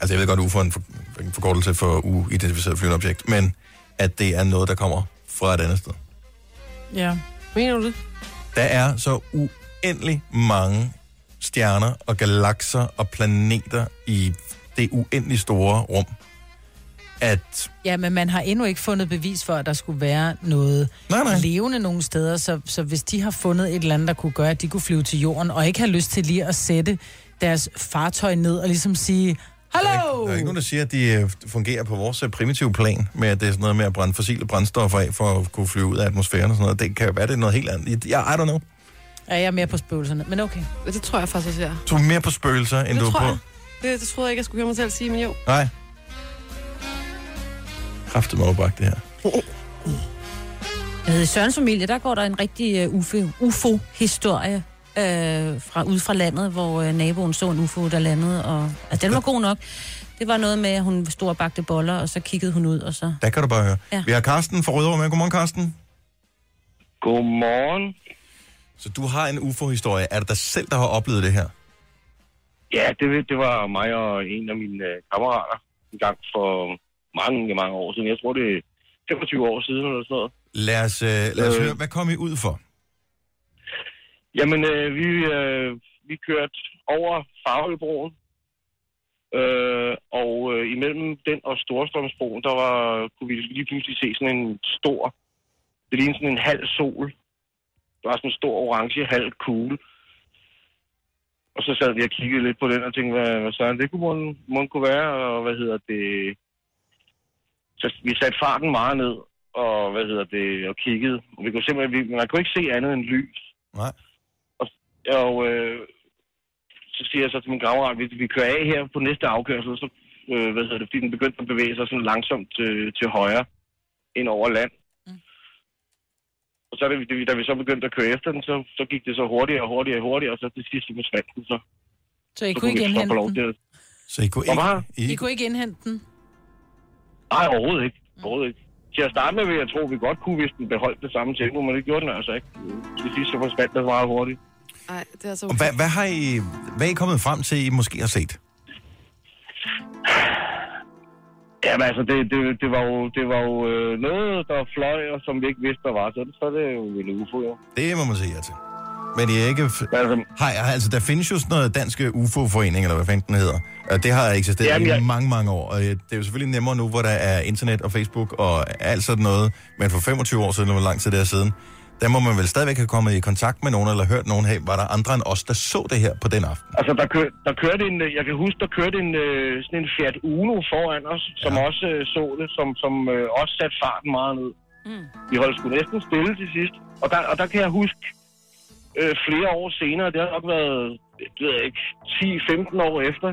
S1: Altså, jeg ved godt, UFO er en, for, en forkortelse for uidentificeret flyvende objekt, men at det er noget, der kommer fra et andet sted.
S4: Ja.
S2: Mener du det?
S1: Der er så uendelig mange stjerner og galakser og planeter i det uendelig store rum, at...
S4: ja, men man har endnu ikke fundet bevis for, at der skulle være noget
S1: Nej, nej.
S4: levende nogle steder, så, så hvis de har fundet et eller andet, der kunne gøre, at de kunne flyve til jorden, og ikke har lyst til lige at sætte deres fartøj ned og ligesom sige, Hallo!
S1: Der er ikke nogen, der siger, at de øh, fungerer på vores øh, primitive plan, med at det er sådan noget med at brænde fossile brændstoffer af, for at kunne flyve ud af atmosfæren og sådan noget. Det kan jo være, det er noget helt andet. Jeg, I don't know.
S4: Ja, jeg er mere på spøgelserne, men okay.
S2: Ja, Det tror jeg faktisk også, jeg er.
S1: Du er mere på spøgelser, end
S4: Det
S1: du er
S4: tror
S1: på...
S4: jeg.
S2: Det, det troede jeg ikke, jeg skulle høre mig selv sige, men jo.
S1: Nej. Kræftet mig det her.
S3: Jeg ved, I Sørens familie, der går der en rigtig uh, UFO-historie øh, fra, ud fra landet, hvor øh, naboen så en UFO, der landede. Og, altså, den var god nok. Det var noget med, at hun stod og bagte boller, og så kiggede hun ud, og så...
S1: Der kan du bare høre. Ja.
S3: Ja.
S1: Vi har Karsten fra Rødovre med. Godmorgen, Karsten.
S8: Godmorgen.
S1: Så du har en UFO-historie. Er det dig selv, der har oplevet det her?
S8: Ja, det, ved- det var mig og en af mine øh, kammerater en gang for mange, mange år siden. Jeg tror, det er 25 år siden eller sådan noget.
S1: Lad os, øh, lad os øh.
S8: Øh.
S1: høre, hvad kom I ud for?
S8: Jamen, øh, vi, øh, vi kørte over Farvebroen, øh, og øh, imellem den og Storstrømsbroen, der var, kunne vi lige pludselig se sådan en stor, det lignede sådan en halv sol. Der var sådan en stor orange halv kugle. Og så sad vi og kiggede lidt på den og tænkte, hvad, hvad sådan, det kunne mon, mon kunne være, og hvad hedder det... Så vi satte farten meget ned, og hvad hedder det, og kiggede. Og vi kunne simpelthen, vi, man kunne ikke se andet end lys.
S1: Nej.
S8: Og, og øh, så siger jeg så til min gravrat, hvis vi kører af her på næste afkørsel, så, øh, hvad hedder det, fordi den begyndte at bevæge sig sådan langsomt øh, til højre ind over land.
S4: Mm.
S8: Og så da vi, da vi så begyndte at køre efter den, så, så gik det så hurtigere og hurtigere og hurtigere, og så til sidst så forsvandt den så.
S4: Så I
S8: så
S4: kunne ikke
S8: vi så få
S4: indhente
S8: lov
S4: den?
S8: til at...
S1: Så I kunne
S8: Hvor
S1: ikke...
S8: var-
S4: I kunne ikke indhente den?
S8: Nej, overhovedet ikke.
S4: Mm.
S8: Overhovedet ikke. Til at starte med vil jeg tro, at vi godt kunne, hvis den beholdt det samme tempo, men det gjorde den altså ikke. Til sidst så forsvandt den meget hurtigt.
S2: Nej, det er altså- så
S1: Og hvad, hvad, har I, hvad er I kommet frem til, I måske har set?
S8: Jamen altså, det, det, det var jo, det var jo øh, noget, der fløj, og som vi ikke vidste, der var. Så, så er det jo en UFO, jo.
S1: Det må man sige ja til. Men I er ikke... f-
S8: Men altså,
S1: Har, har- altså, der findes jo sådan noget dansk UFO-forening, eller hvad fanden den hedder. Og det har eksisteret Jamen,
S8: Jamen,
S1: jeg... i
S8: jeg-
S1: mange, mange år. Og øh, det er jo selvfølgelig nemmere nu, hvor der er internet og Facebook og alt sådan noget. Men for 25 år siden, eller hvor lang tid det er siden, der må man vel stadigvæk have kommet i kontakt med nogen, eller hørt nogen, hey, var der andre end os, der så det her på den aften?
S8: Altså, der, kør, der kørte en, øh, jeg kan huske, der kørte en, øh, sådan en Fiat Uno foran os, som ja. også øh, så det, som, som øh, også satte farten meget ned.
S3: Mm.
S8: Mm. Vi holdt sgu næsten stille til sidst. Og der, og der kan jeg huske øh, flere år senere, det har nok været, det ved jeg ikke, 10-15 år efter,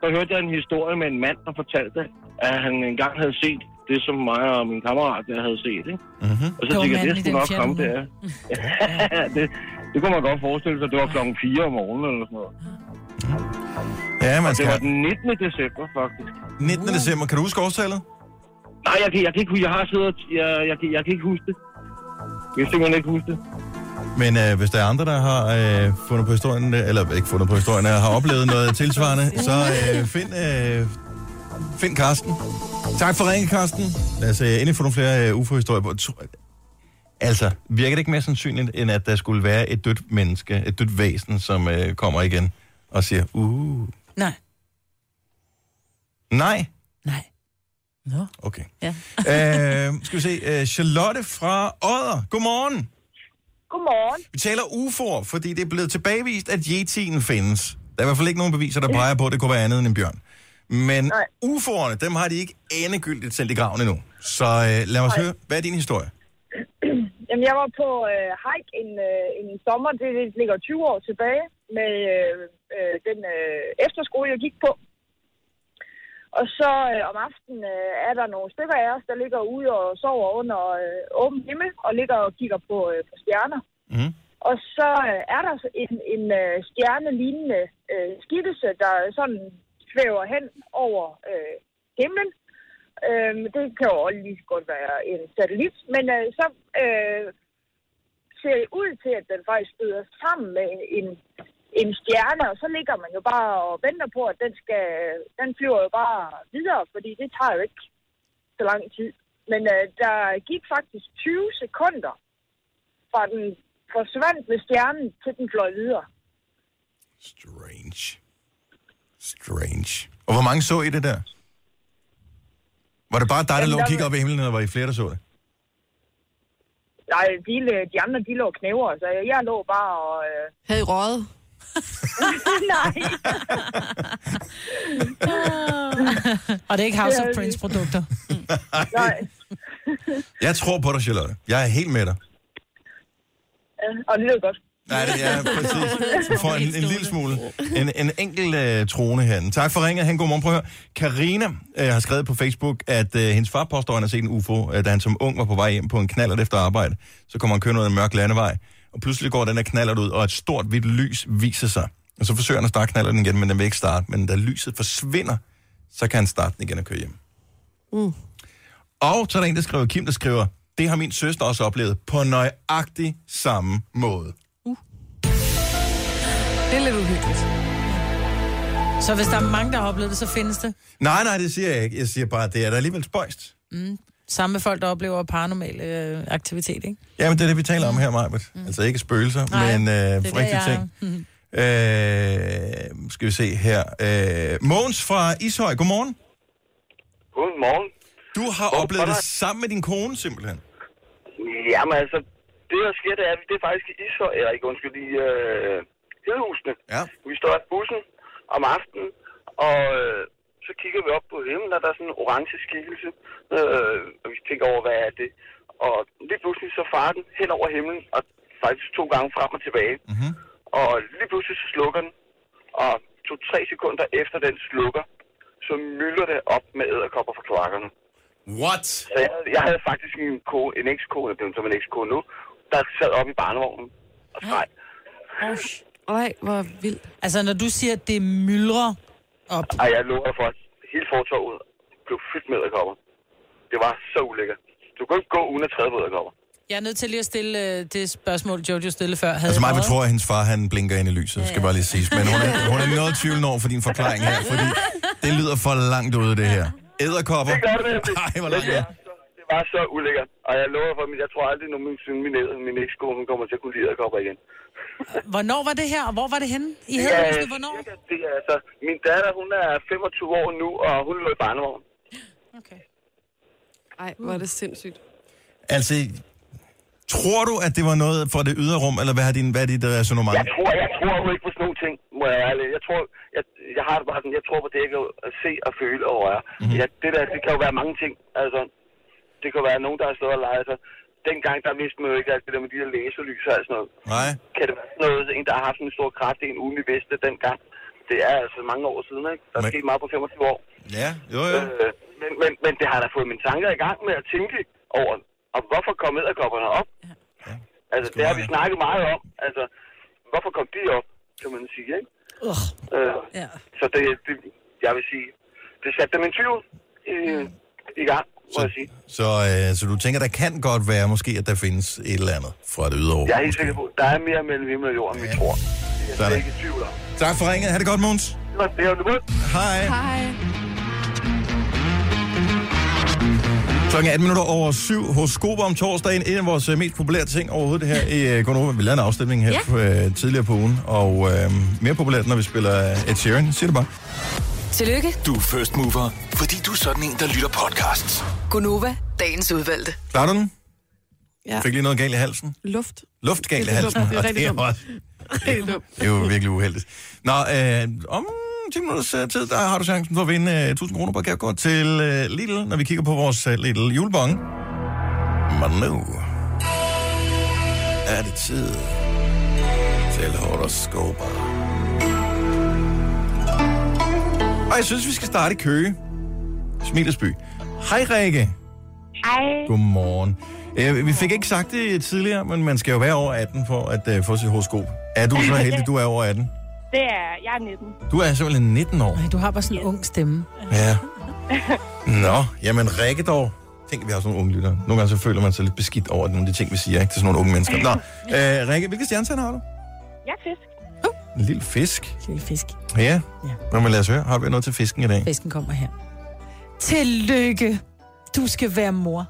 S8: der hørte jeg en historie med en mand, der fortalte, at han engang havde set det, som mig og min kammerat der havde set. Ikke?
S1: Mm-hmm.
S8: Og så
S4: Mhm. Det var
S8: tænkte jeg,
S4: manden
S8: det
S4: i
S8: skulle
S4: den
S8: nok
S4: Fiat
S8: komme
S4: Uno.
S8: der. (laughs) det, det kunne man godt forestille sig. Det var klokken 4 om morgenen eller sådan noget.
S1: Ja, man
S8: Det var
S1: skal.
S8: den 19. december, faktisk.
S1: 19. december, kan du huske årstallet?
S8: Nej, jeg kan, jeg kan ikke huske. Jeg har siddet og... Jeg, jeg, kan, jeg kan ikke huske det. Jeg kan simpelthen ikke huske det.
S1: Men øh, hvis der er andre, der har øh, fundet på historien, øh, eller ikke fundet på historien, øh, har oplevet noget tilsvarende, så øh, find, øh, find Karsten. Tak for ringen, Karsten. Lad os øh, endelig få nogle flere øh, UFO-historier på. Tro- Altså, virker det ikke mere sandsynligt, end at der skulle være et dødt menneske, et dødt væsen, som øh, kommer igen og siger, uh,
S4: Nej.
S1: nej?
S4: Nej. Nå.
S1: Okay.
S3: Ja.
S1: øh, skal vi se, øh, Charlotte fra Odder. Godmorgen.
S9: Godmorgen.
S1: Vi taler UFO'er, fordi det er blevet tilbagevist, at yetien findes. Der er i hvert fald ikke nogen beviser, der peger på, at det kunne være andet end en bjørn. Men Nej. UFO'erne, dem har de ikke endegyldigt sendt i graven endnu. Så øh, lad os høre, hvad er din historie?
S9: Jamen, jeg var på øh, hike en, øh, en sommer, det, det ligger 20 år tilbage, med øh, øh, den øh, efterskole, jeg gik på. Og så øh, om aftenen øh, er der nogle stykker af os, der ligger ude og sover under øh, åben himmel, og ligger og kigger på, øh, på stjerner.
S1: Mm.
S9: Og så øh, er der så en, en øh, stjernelignende øh, skikkelse, der sådan svæver hen over øh, himlen. Øh, det kan jo også lige så godt være en satellit, men øh, så øh, ser det ud til, at den faktisk støder sammen med en, en stjerne, og så ligger man jo bare og venter på, at den, skal, den flyver jo bare videre, fordi det tager jo ikke så lang tid. Men øh, der gik faktisk 20 sekunder fra den forsvandt ved stjernen, til den fløj videre.
S1: Strange. Strange. Og hvor mange så I det der? Var det bare dig, der
S9: Jamen,
S1: lå og
S9: der
S1: kiggede
S9: var-
S1: op i himlen, eller var I flere, der så det?
S9: Nej, de, øh, de andre, de lå og knæver, så jeg lå bare og... Øh...
S2: Havde I røget?
S9: Nej,
S4: Og det er ikke House
S9: Det er
S4: of Prince produkter.
S9: nej.
S1: Jeg tror på dig, Charlotte. Jeg er helt med dig.
S9: Øh, (laughs) Og det lød godt.
S1: Nej, det er præcis. Du får en, en lille smule. En, en enkelt øh, trone herinde. Tak for ringet. Han god morgen. Prøv at høre. Karina øh, har skrevet på Facebook, at øh, hendes far påstår, at han har set en UFO, øh, da han som ung var på vej hjem på en knallert efter arbejde. Så kommer han kørende ud af en mørk landevej, og pludselig går den her knallert ud, og et stort hvidt lys viser sig. Og så forsøger han at starte knallerten igen, men den vil ikke starte. Men da lyset forsvinder, så kan han starte den igen og køre hjem. Og så er der en, der skriver, Kim, der skriver, det har min søster også oplevet på nøjagtig samme måde.
S2: Det er lidt uhyggeligt.
S4: Så hvis der er mange, der har oplevet det, så findes det.
S1: Nej, nej, det siger jeg ikke. Jeg siger bare, at det er da alligevel spøjst.
S4: Samme med folk, der oplever paranormal øh, aktivitet, ikke?
S1: Jamen, det er det, vi taler om her, Majbert. Mm. Altså ikke spøgelser,
S4: Nej,
S1: men øh,
S4: det er det,
S1: rigtige
S4: jeg-
S1: ting.
S4: (laughs)
S1: Øh, skal vi se her. Øh, Mogens fra Ishøj, godmorgen.
S10: Godmorgen.
S1: Du har oplevet det sammen med din kone, simpelthen.
S10: Jamen altså, det der sker, det er, det er faktisk i Ishøj, eller ikke undskyld, i øh, Hedehusene.
S1: Ja.
S10: Vi står af bussen om aftenen, og øh, så kigger vi op på himlen, og der er sådan en orange skikkelse, øh, og vi tænker over, hvad er det? Og lige pludselig så farer den hen over himlen, og faktisk to gange frem og tilbage.
S1: Mm-hmm.
S10: Og lige pludselig så slukker den, og to-tre sekunder efter den slukker, så mylder det op med æderkopper fra kloakkerne.
S1: What?
S10: Så jeg, jeg havde faktisk min ko, en ekskone, det er som en ekskone nu, der sad oppe i barnevognen og skreg.
S2: Nej, hvor vildt.
S4: Altså, når du siger, at det myldrer op.
S10: Ej, jeg lukker for, at hele fortorvet blev fyldt med æderkopper. Det var så ulækkert. Du kunne ikke gå uden at træde på æderkopper.
S4: Jeg er nødt til lige at stille øh, det spørgsmål, Jojo stillede før. Havde
S1: Altså mig
S4: jeg
S1: betror, at hendes far han blinker ind i lyset, skal bare lige siges. Men hun er, hun er noget tvivl over for din forklaring her, fordi det lyder for langt ude, det her. Æderkopper.
S10: Det gør det nemlig.
S1: Ej, hvor langt
S10: det, er så, det var så ulækkert. Og jeg lover for, at jeg tror aldrig, at min, min, min ekskone hun kommer til at kunne lide æderkopper igen.
S4: været- Hvornår var det her, og hvor var det henne? I
S10: Ja,
S4: havde ja, hvornår?
S10: cirka Det er altså, min datter, hun er 25 år nu, og hun lå i barnevogn.
S2: Ej, hvor er det sindssygt.
S1: Altså, tror du, at det var noget fra det ydre rum, eller hvad er, din, hvad er dit øh, resonemang?
S10: Jeg tror, jeg tror jo ikke på sådan nogle ting, må jeg være ærlig. Jeg tror, jeg, jeg har det bare sådan, jeg tror på det, jeg kan se og føle og røre. Mm-hmm. Ja, det der, det kan jo være mange ting. Altså, det kan være nogen, der har stået og leget. Altså, dengang, der vidste man jo ikke alt det der med de der laserlys og alt sådan noget.
S1: Nej.
S10: Kan det være sådan noget, en der har haft sådan en stor kraft, en ugen vi vidste dengang? Det er altså mange år siden, ikke? Der er
S1: Men-
S10: sket meget på 25 år.
S1: Ja, jo, jo.
S10: Øh, men, men, men det har da fået mine tanker i gang med at tænke over, om hvorfor kom æderkopperne op? Altså, det har vi snakket meget om. Altså, hvorfor kom de op, kan man sige, ikke?
S4: Ugh.
S10: Øh,
S4: Ja.
S10: så det, det, jeg vil sige, det satte dem en tvivl i, i gang, må jeg sige.
S1: Så, øh, så du tænker, der kan godt være måske, at der findes et eller andet fra det ydre rum.
S10: Jeg er helt sikker på, der er mere mellem himmel og jord, end vi tror. Det er jeg
S1: Sådan.
S10: slet ikke i tvivl om.
S1: Tak for ringet. Ha' det godt, Måns.
S10: Det var det, jeg ville ud.
S1: Hej.
S2: Hej.
S1: Klokken er 18 minutter over syv hos Skober om torsdagen. En af vores øh, mest populære ting overhovedet her i øh, Gonova. Vi lavede en afstemning her ja. øh, tidligere på ugen, og øh, mere populært, når vi spiller øh, Ed Sheeran. Siger det bare.
S6: Tillykke,
S7: Du er first mover, fordi du er sådan en, der lytter podcasts.
S6: Gunova, dagens udvalgte.
S1: Klarer du den?
S2: Ja.
S1: Fik lige noget galt i halsen?
S2: Luft.
S1: Luft galt i
S2: Det er
S1: halsen.
S2: dumt. Det er
S1: og
S2: rigtig dumt.
S1: også-
S2: Helt dumt.
S1: Det er jo virkelig uheldigt. Nå, øh, om 10 minutters øh, tid, der har du chancen for at vinde øh, 1000 kroner på gavekort til øh, Lidl, når vi kigger på vores øh, Lidl julebong. Men nu er det tid til horoskoper. Og jeg synes, vi skal starte i Køge. Smilesby. Hej, Rikke.
S11: Hej.
S1: Godmorgen. Øh, vi fik ikke sagt det tidligere, men man skal jo være over 18 for at øh, få sit horoskop. Er du
S11: (laughs)
S1: så heldig, du er over 18?
S11: Det er, jeg er 19.
S1: Du er simpelthen 19 år.
S4: Ej, du har bare sådan en ung stemme.
S1: Ja. (laughs) Nå, jamen Rikke dog. Tænk, at vi har sådan nogle unge lyttere. Nogle gange så føler man sig lidt beskidt over nogle af de ting, vi siger ikke, til sådan nogle unge mennesker.
S11: (laughs)
S1: Nå, øh, Rikke, hvilke stjernetegn har du?
S11: Jeg er fisk.
S1: En lille fisk.
S4: Lille fisk.
S1: Ja. Nå, men lad os høre. Har vi noget til fisken i dag?
S4: Fisken kommer her. Tillykke. Du skal være mor.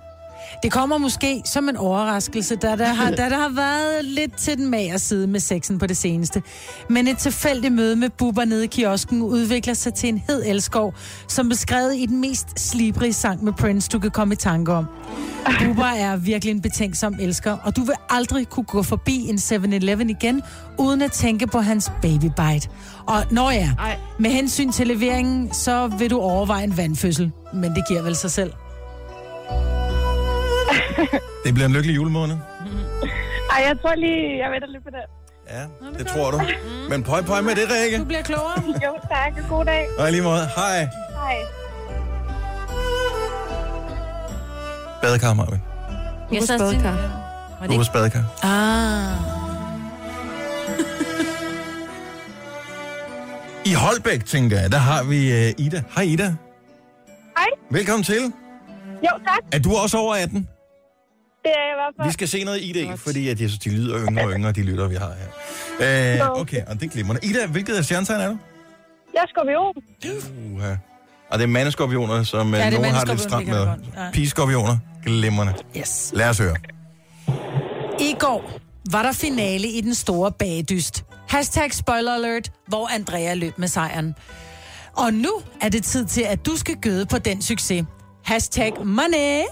S4: Det kommer måske som en overraskelse, da der, har, da der har været lidt til den mager side med sexen på det seneste. Men et tilfældigt møde med buber nede i kiosken udvikler sig til en hed elskov, som beskrevet i den mest slibrige sang med Prince, du kan komme i tanke om. Bubber er virkelig en betænksom elsker, og du vil aldrig kunne gå forbi en 7-Eleven igen, uden at tænke på hans babybite. Og når ja, med hensyn til leveringen, så vil du overveje en vandfødsel. Men det giver vel sig selv.
S1: Det bliver en lykkelig julemåned.
S11: Ej, jeg tror lige, jeg venter lidt på det.
S1: Ja, det tror du.
S11: Mm.
S1: Men pøj, pøj med det, Rikke.
S4: bliver klogere.
S11: jo, tak. og God dag.
S1: Og i lige måde, hej.
S11: Hej.
S1: Badekar, Marvin.
S3: Jeg sad
S2: Badekar.
S1: Du er badekar.
S4: Ah.
S1: I Holbæk, tænker jeg, der har vi øh, Ida. Hej, Ida.
S11: Hej.
S1: Velkommen til.
S11: Jo, tak.
S1: Er du også over 18?
S11: Det er jeg i hvert fald.
S1: Vi skal se noget ID, fordi at jeg synes, de lyder yngre og yngre, de lytter, vi har her. Øh, okay, og det er glimrende. Ida, hvilket af stjernetegn er du?
S11: Jeg skal vi om.
S1: Uha. Og det er mandeskorpioner, som
S11: Ja,
S1: ja,
S11: det er
S1: nogen har det lidt stramt
S11: mandeskorpioner,
S1: med.
S11: det kan jeg godt. Ja.
S1: Pigeskorpioner, glimrende.
S4: Yes.
S1: Lad os høre.
S4: I går var der finale i den store bagdyst. Hashtag spoiler alert, hvor Andrea løb med sejren. Og nu er det tid til, at du skal gøde på den succes. Hashtag money.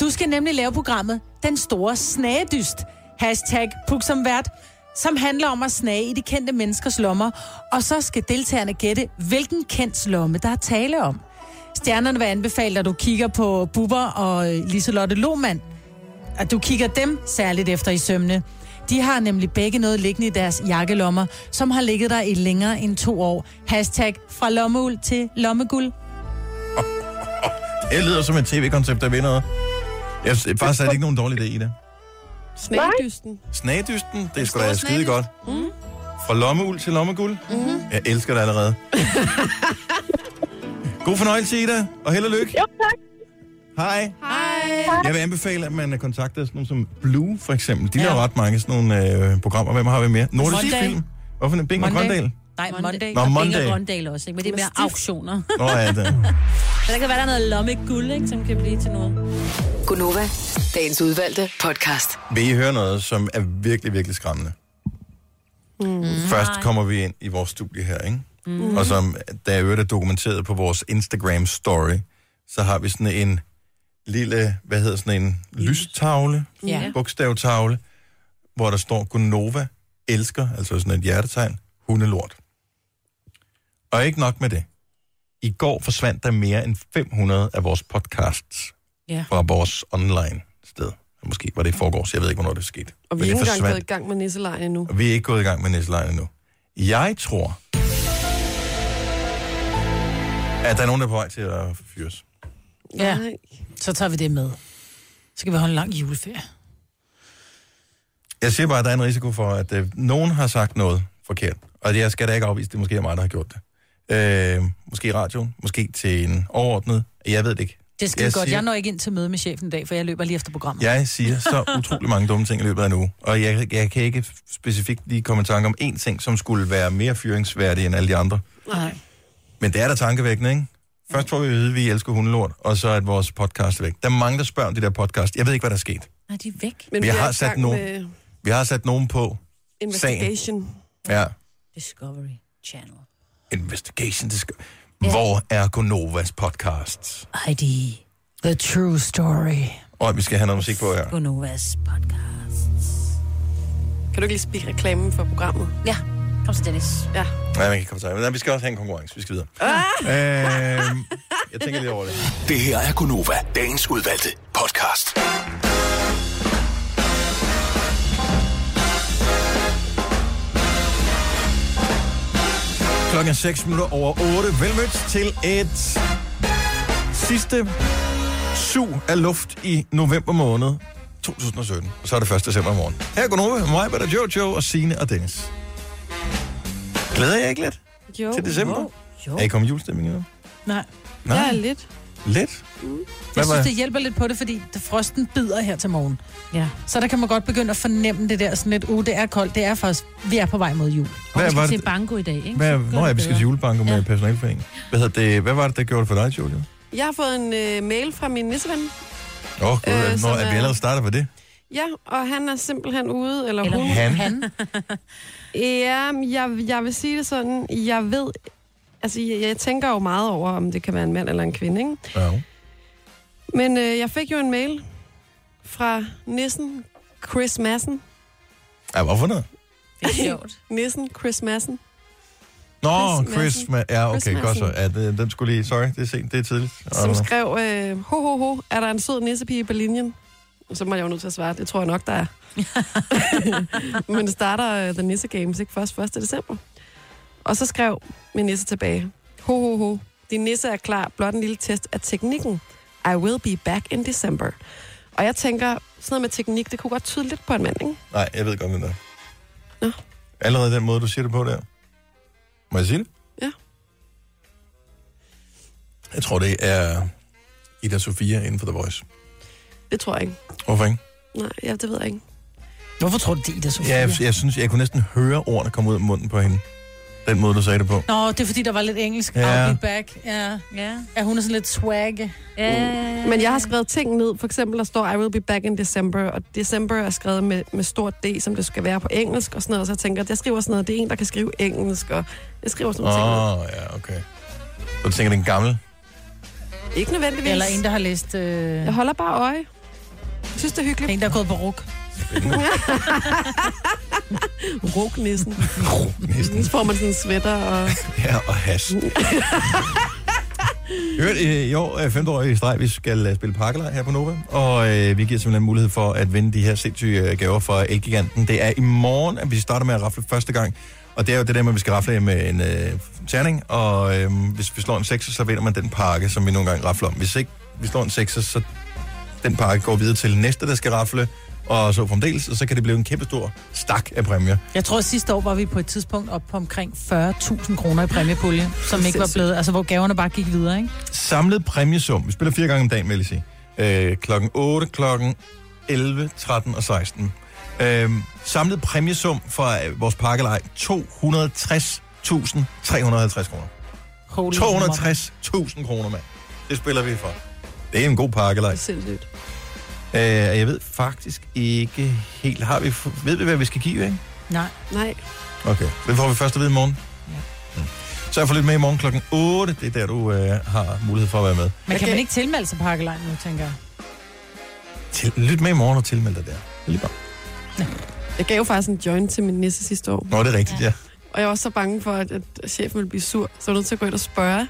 S4: Du skal nemlig lave programmet Den Store Snagedyst. Hashtag puk som vært, som handler om at snage i de kendte menneskers lommer. Og så skal deltagerne gætte, hvilken kendt lomme, der er tale om. Stjernerne vil anbefale, at du kigger på Bubber og øh, Liselotte Lohmann. At du kigger dem særligt efter i sømne. De har nemlig begge noget liggende i deres jakkelommer, som har ligget der i længere end to år. Hashtag fra lommeuld til lommeguld.
S1: Det lyder som et tv-koncept, der vil noget. Jeg synes faktisk, er det ikke nogen dårlig idé i det.
S2: Snædysten.
S1: Snagedysten, det er sgu da skide godt.
S2: Mm.
S1: Fra lommeuld til lommeguld.
S2: Mm-hmm.
S1: Jeg elsker det allerede. God fornøjelse, Ida, og held og lykke. Jo,
S11: tak.
S1: Hej.
S2: Hej.
S1: Jeg vil anbefale, at man kontakter sådan nogle som Blue, for eksempel. De ja. laver ret mange sådan nogle øh, programmer. Hvem har vi mere? Nordisk
S3: Monday.
S1: Film. Hvorfor den? Bing og Grøndal?
S3: Nej, Monday.
S1: Nå,
S3: Og Bing
S1: Monday.
S3: og Grøndal også, ikke? Men det er
S2: Med
S3: mere
S2: stift.
S3: auktioner.
S1: Nå ja, det.
S3: Men der kan være, der er noget lommeguld, ikke, som kan blive til noget.
S6: Gunova, dagens udvalgte podcast.
S1: Vil I høre noget, som er virkelig, virkelig skræmmende? Mm. Først kommer vi ind i vores studie her, ikke? Mm.
S12: Mhm.
S1: Og som der er øvrigt er dokumenteret på vores Instagram-story, så har vi sådan en lille, hvad hedder sådan en, lystavle,
S12: Ja.
S1: bogstavtavle, hvor der står, Gunova elsker, altså sådan et hjertetegn, hundelort. Og ikke nok med det. I går forsvandt der mere end 500 af vores podcasts
S3: Ja.
S1: fra vores online sted. Måske var det i forgårs, jeg ved ikke, hvornår det skete.
S2: Og vi
S1: Men
S2: er
S1: det
S2: ikke engang
S1: forsvandt.
S2: gået i gang med nisselejen endnu.
S1: Og vi er ikke gået i gang med næstlejen endnu. Jeg tror, at der er nogen, der er på vej til at fyres.
S4: Ja, så tager vi det med. Så kan vi holde en lang juleferie.
S1: Jeg siger bare, at der er en risiko for, at øh, nogen har sagt noget forkert. Og jeg skal da ikke afvise, det måske er mig, der har gjort det. Øh, måske i radioen, måske til en overordnet. Jeg ved det ikke.
S4: Det skal
S1: jeg
S4: yes, godt.
S1: Siger,
S4: Jeg når ikke ind til møde med chefen i dag, for jeg løber lige efter programmet.
S1: Jeg siger
S3: (laughs)
S1: så utrolig mange dumme ting i løbet af en uge. Og jeg, jeg kan ikke specifikt lige komme i tanke om én ting, som skulle være mere fyringsværdig end alle de andre.
S4: Nej.
S1: Men det er da tankevækkende, ikke? Først får vi at vide, at vi elsker hundelort, og så er vores podcast væk. Der er mange, der spørger om det der podcast. Jeg ved ikke, hvad der er sket.
S3: Nej, de er væk.
S1: Men vi har sat nogen- Vi har sat nogen på.
S2: investigation.
S1: Ja,
S3: Discovery Channel.
S1: investigation. Det skal... Hvor er Gonovas podcast?
S3: ID.
S4: The true story.
S1: Og vi skal have noget musik på her.
S3: Gonovas podcast.
S2: Kan du ikke lige spille reklamen for programmet?
S3: Ja, kom så Dennis.
S2: Ja.
S1: Nej, man kan komme til. Men vi skal også have en konkurrence. Vi skal videre.
S3: Ah!
S1: Øhm, jeg tænker lige over det.
S7: Det her er Gunova, dagens udvalgte podcast.
S1: Klokken er 6 minutter over 8. Velmødt til et sidste sug af luft i november måned 2017. Og så er det 1. december i morgen. Her går Nova, mig, Bette, Jojo og Sine og Dennis. Glæder jeg ikke lidt
S2: Jo.
S1: til december? Jo.
S4: jo.
S1: Er I kommet i julestemning endnu?
S4: Nej.
S1: Nej.
S4: Jeg er lidt.
S1: Lidt?
S4: Jeg
S1: Hvad var-
S4: synes, det hjælper lidt på det, fordi det- frosten bider her til morgen.
S3: Ja.
S4: Så der kan man godt begynde at fornemme det der sådan lidt, uh, det er koldt, det er faktisk, vi er på vej mod jul.
S1: Hvad
S4: vi
S1: vi skal var til det-
S3: banko i dag, ikke?
S1: Hvad, nå, ja, vi skal til julebanker med ja. personalforeningen. Hvad, hedder det, hvad var det, der gjorde det for dig, Julia?
S2: Jeg har fået en øh, mail fra min nisseven.
S1: Åh, oh, øh,
S2: Øh,
S1: nå,
S2: som
S1: er vi
S2: er-
S1: allerede startet på det?
S2: Ja, og han er simpelthen ude, eller, eller hun.
S1: Han?
S2: Ja, jeg, jeg vil sige det sådan, jeg ved... Altså, jeg, jeg tænker jo meget over, om det kan være en mand eller en kvinde, ikke?
S1: Ja.
S2: Men øh, jeg fik jo en mail fra nissen Chris Madsen.
S1: Ja, hvorfor noget?
S3: Det er sjovt.
S2: nissen Chris Madsen.
S1: Nå,
S2: Chris
S1: Chris,
S2: Madsen.
S1: Ma- ja,
S2: Chris
S1: okay, godt så.
S2: Madsen.
S1: Ja, det, den skulle lige, sorry, det er sent, det er tidligt.
S2: som skrev, øh, ho, ho, ho, er der en sød nissepige i Berlinjen? Og så var jeg jo nødt til at svare, det tror jeg nok, der er. Men det starter uh, The Nisse Games, ikke? Først 1. december. Og så skrev min nisse tilbage, ho, ho, ho, din nisse er klar, blot en lille test af teknikken. I will be back in December. Og jeg tænker, sådan noget med teknik, det kunne godt tyde lidt på en mand, ikke?
S1: Nej, jeg ved godt, hvem det er.
S2: Nå.
S1: Allerede den måde, du siger det på der. Må jeg sige det?
S2: Ja.
S1: Jeg tror, det er Ida Sofia inden for The Voice.
S2: Det tror jeg ikke.
S1: Hvorfor ikke?
S2: Nej, ja, det ved jeg ikke.
S4: Hvorfor tror du, det er Ida Sofia?
S1: Ja, jeg, jeg, synes, jeg kunne næsten høre ordene komme ud af munden på hende. Den måde, du sagde det på.
S4: Nå, det er fordi, der var lidt engelsk.
S1: Ja.
S4: Ja. I'll be back. Ja. ja. ja hun er sådan lidt swag. Ja.
S2: Men jeg har skrevet ting ned. For eksempel, der står, I will be back in December. Og December er skrevet med, med stort D, som det skal være på engelsk og sådan noget. Så jeg tænker, at jeg skriver sådan noget. Det er en, der kan skrive engelsk. Og jeg skriver sådan nogle ting.
S1: Åh, oh, ja, okay. Så du tænker,
S2: (laughs)
S1: den gamle?
S2: ned. Ikke nødvendigvis.
S4: Eller en, der har læst... Øh...
S2: Jeg holder bare øje. Jeg synes, det er hyggeligt.
S4: En, der er gået på ruk.
S2: Ruknissen. Ruknissen. Så får man sådan en sweater
S1: (laughs)
S2: og...
S1: Ja, og has. Hørt, i år er femte år i streg, vi skal øh, spille pakkelej her på Nova, og øh, vi giver simpelthen mulighed for at vinde de her sindssyge øh, gaver fra Elgiganten. Det er i morgen, at vi starter med at rafle første gang, og det er jo det der med, at vi skal rafle med en øh, terning, og øh, hvis vi slår en 6, så vinder man den pakke, som vi nogle gange rafler om. Hvis ikke vi slår en 6, så den pakke går videre til næste, der skal rafle, og så fremdeles, og så kan det blive en kæmpe stor stak af præmier.
S4: Jeg tror, at sidste år var vi på et tidspunkt op på omkring 40.000 kroner i præmiepulje, som ikke var blevet... Altså, hvor gaverne bare gik videre, ikke?
S1: Samlet præmiesum. Vi spiller fire gange om dagen, vil jeg sige. Øh, klokken 8, klokken 11, 13 og 16. Øh, samlet præmiesum fra øh, vores pakkelej 260.350 kroner.
S4: Holy
S1: 260.000 kroner, mand. Det spiller vi for. Det er en god pakkelej.
S2: Sindssygt.
S1: Øh, jeg ved faktisk ikke helt... Har vi, ved vi, hvad vi skal give, ikke?
S4: Nej.
S2: Nej.
S1: Okay, det får vi først at vide i morgen. Mm. Så jeg får lidt med i morgen klokken 8. Det er der, du øh, har mulighed for at være med.
S4: Men kan man ikke tilmelde sig pakkelejen nu, tænker jeg?
S1: Til, lyt med i morgen og tilmeld dig der. Lige bare.
S2: Jeg gav jo faktisk en joint til min nisse sidste år.
S1: Nå, det er rigtigt, ja.
S2: Og jeg var så bange for, at, at chefen ville blive sur. Så jeg var nødt til at gå ind og spørge.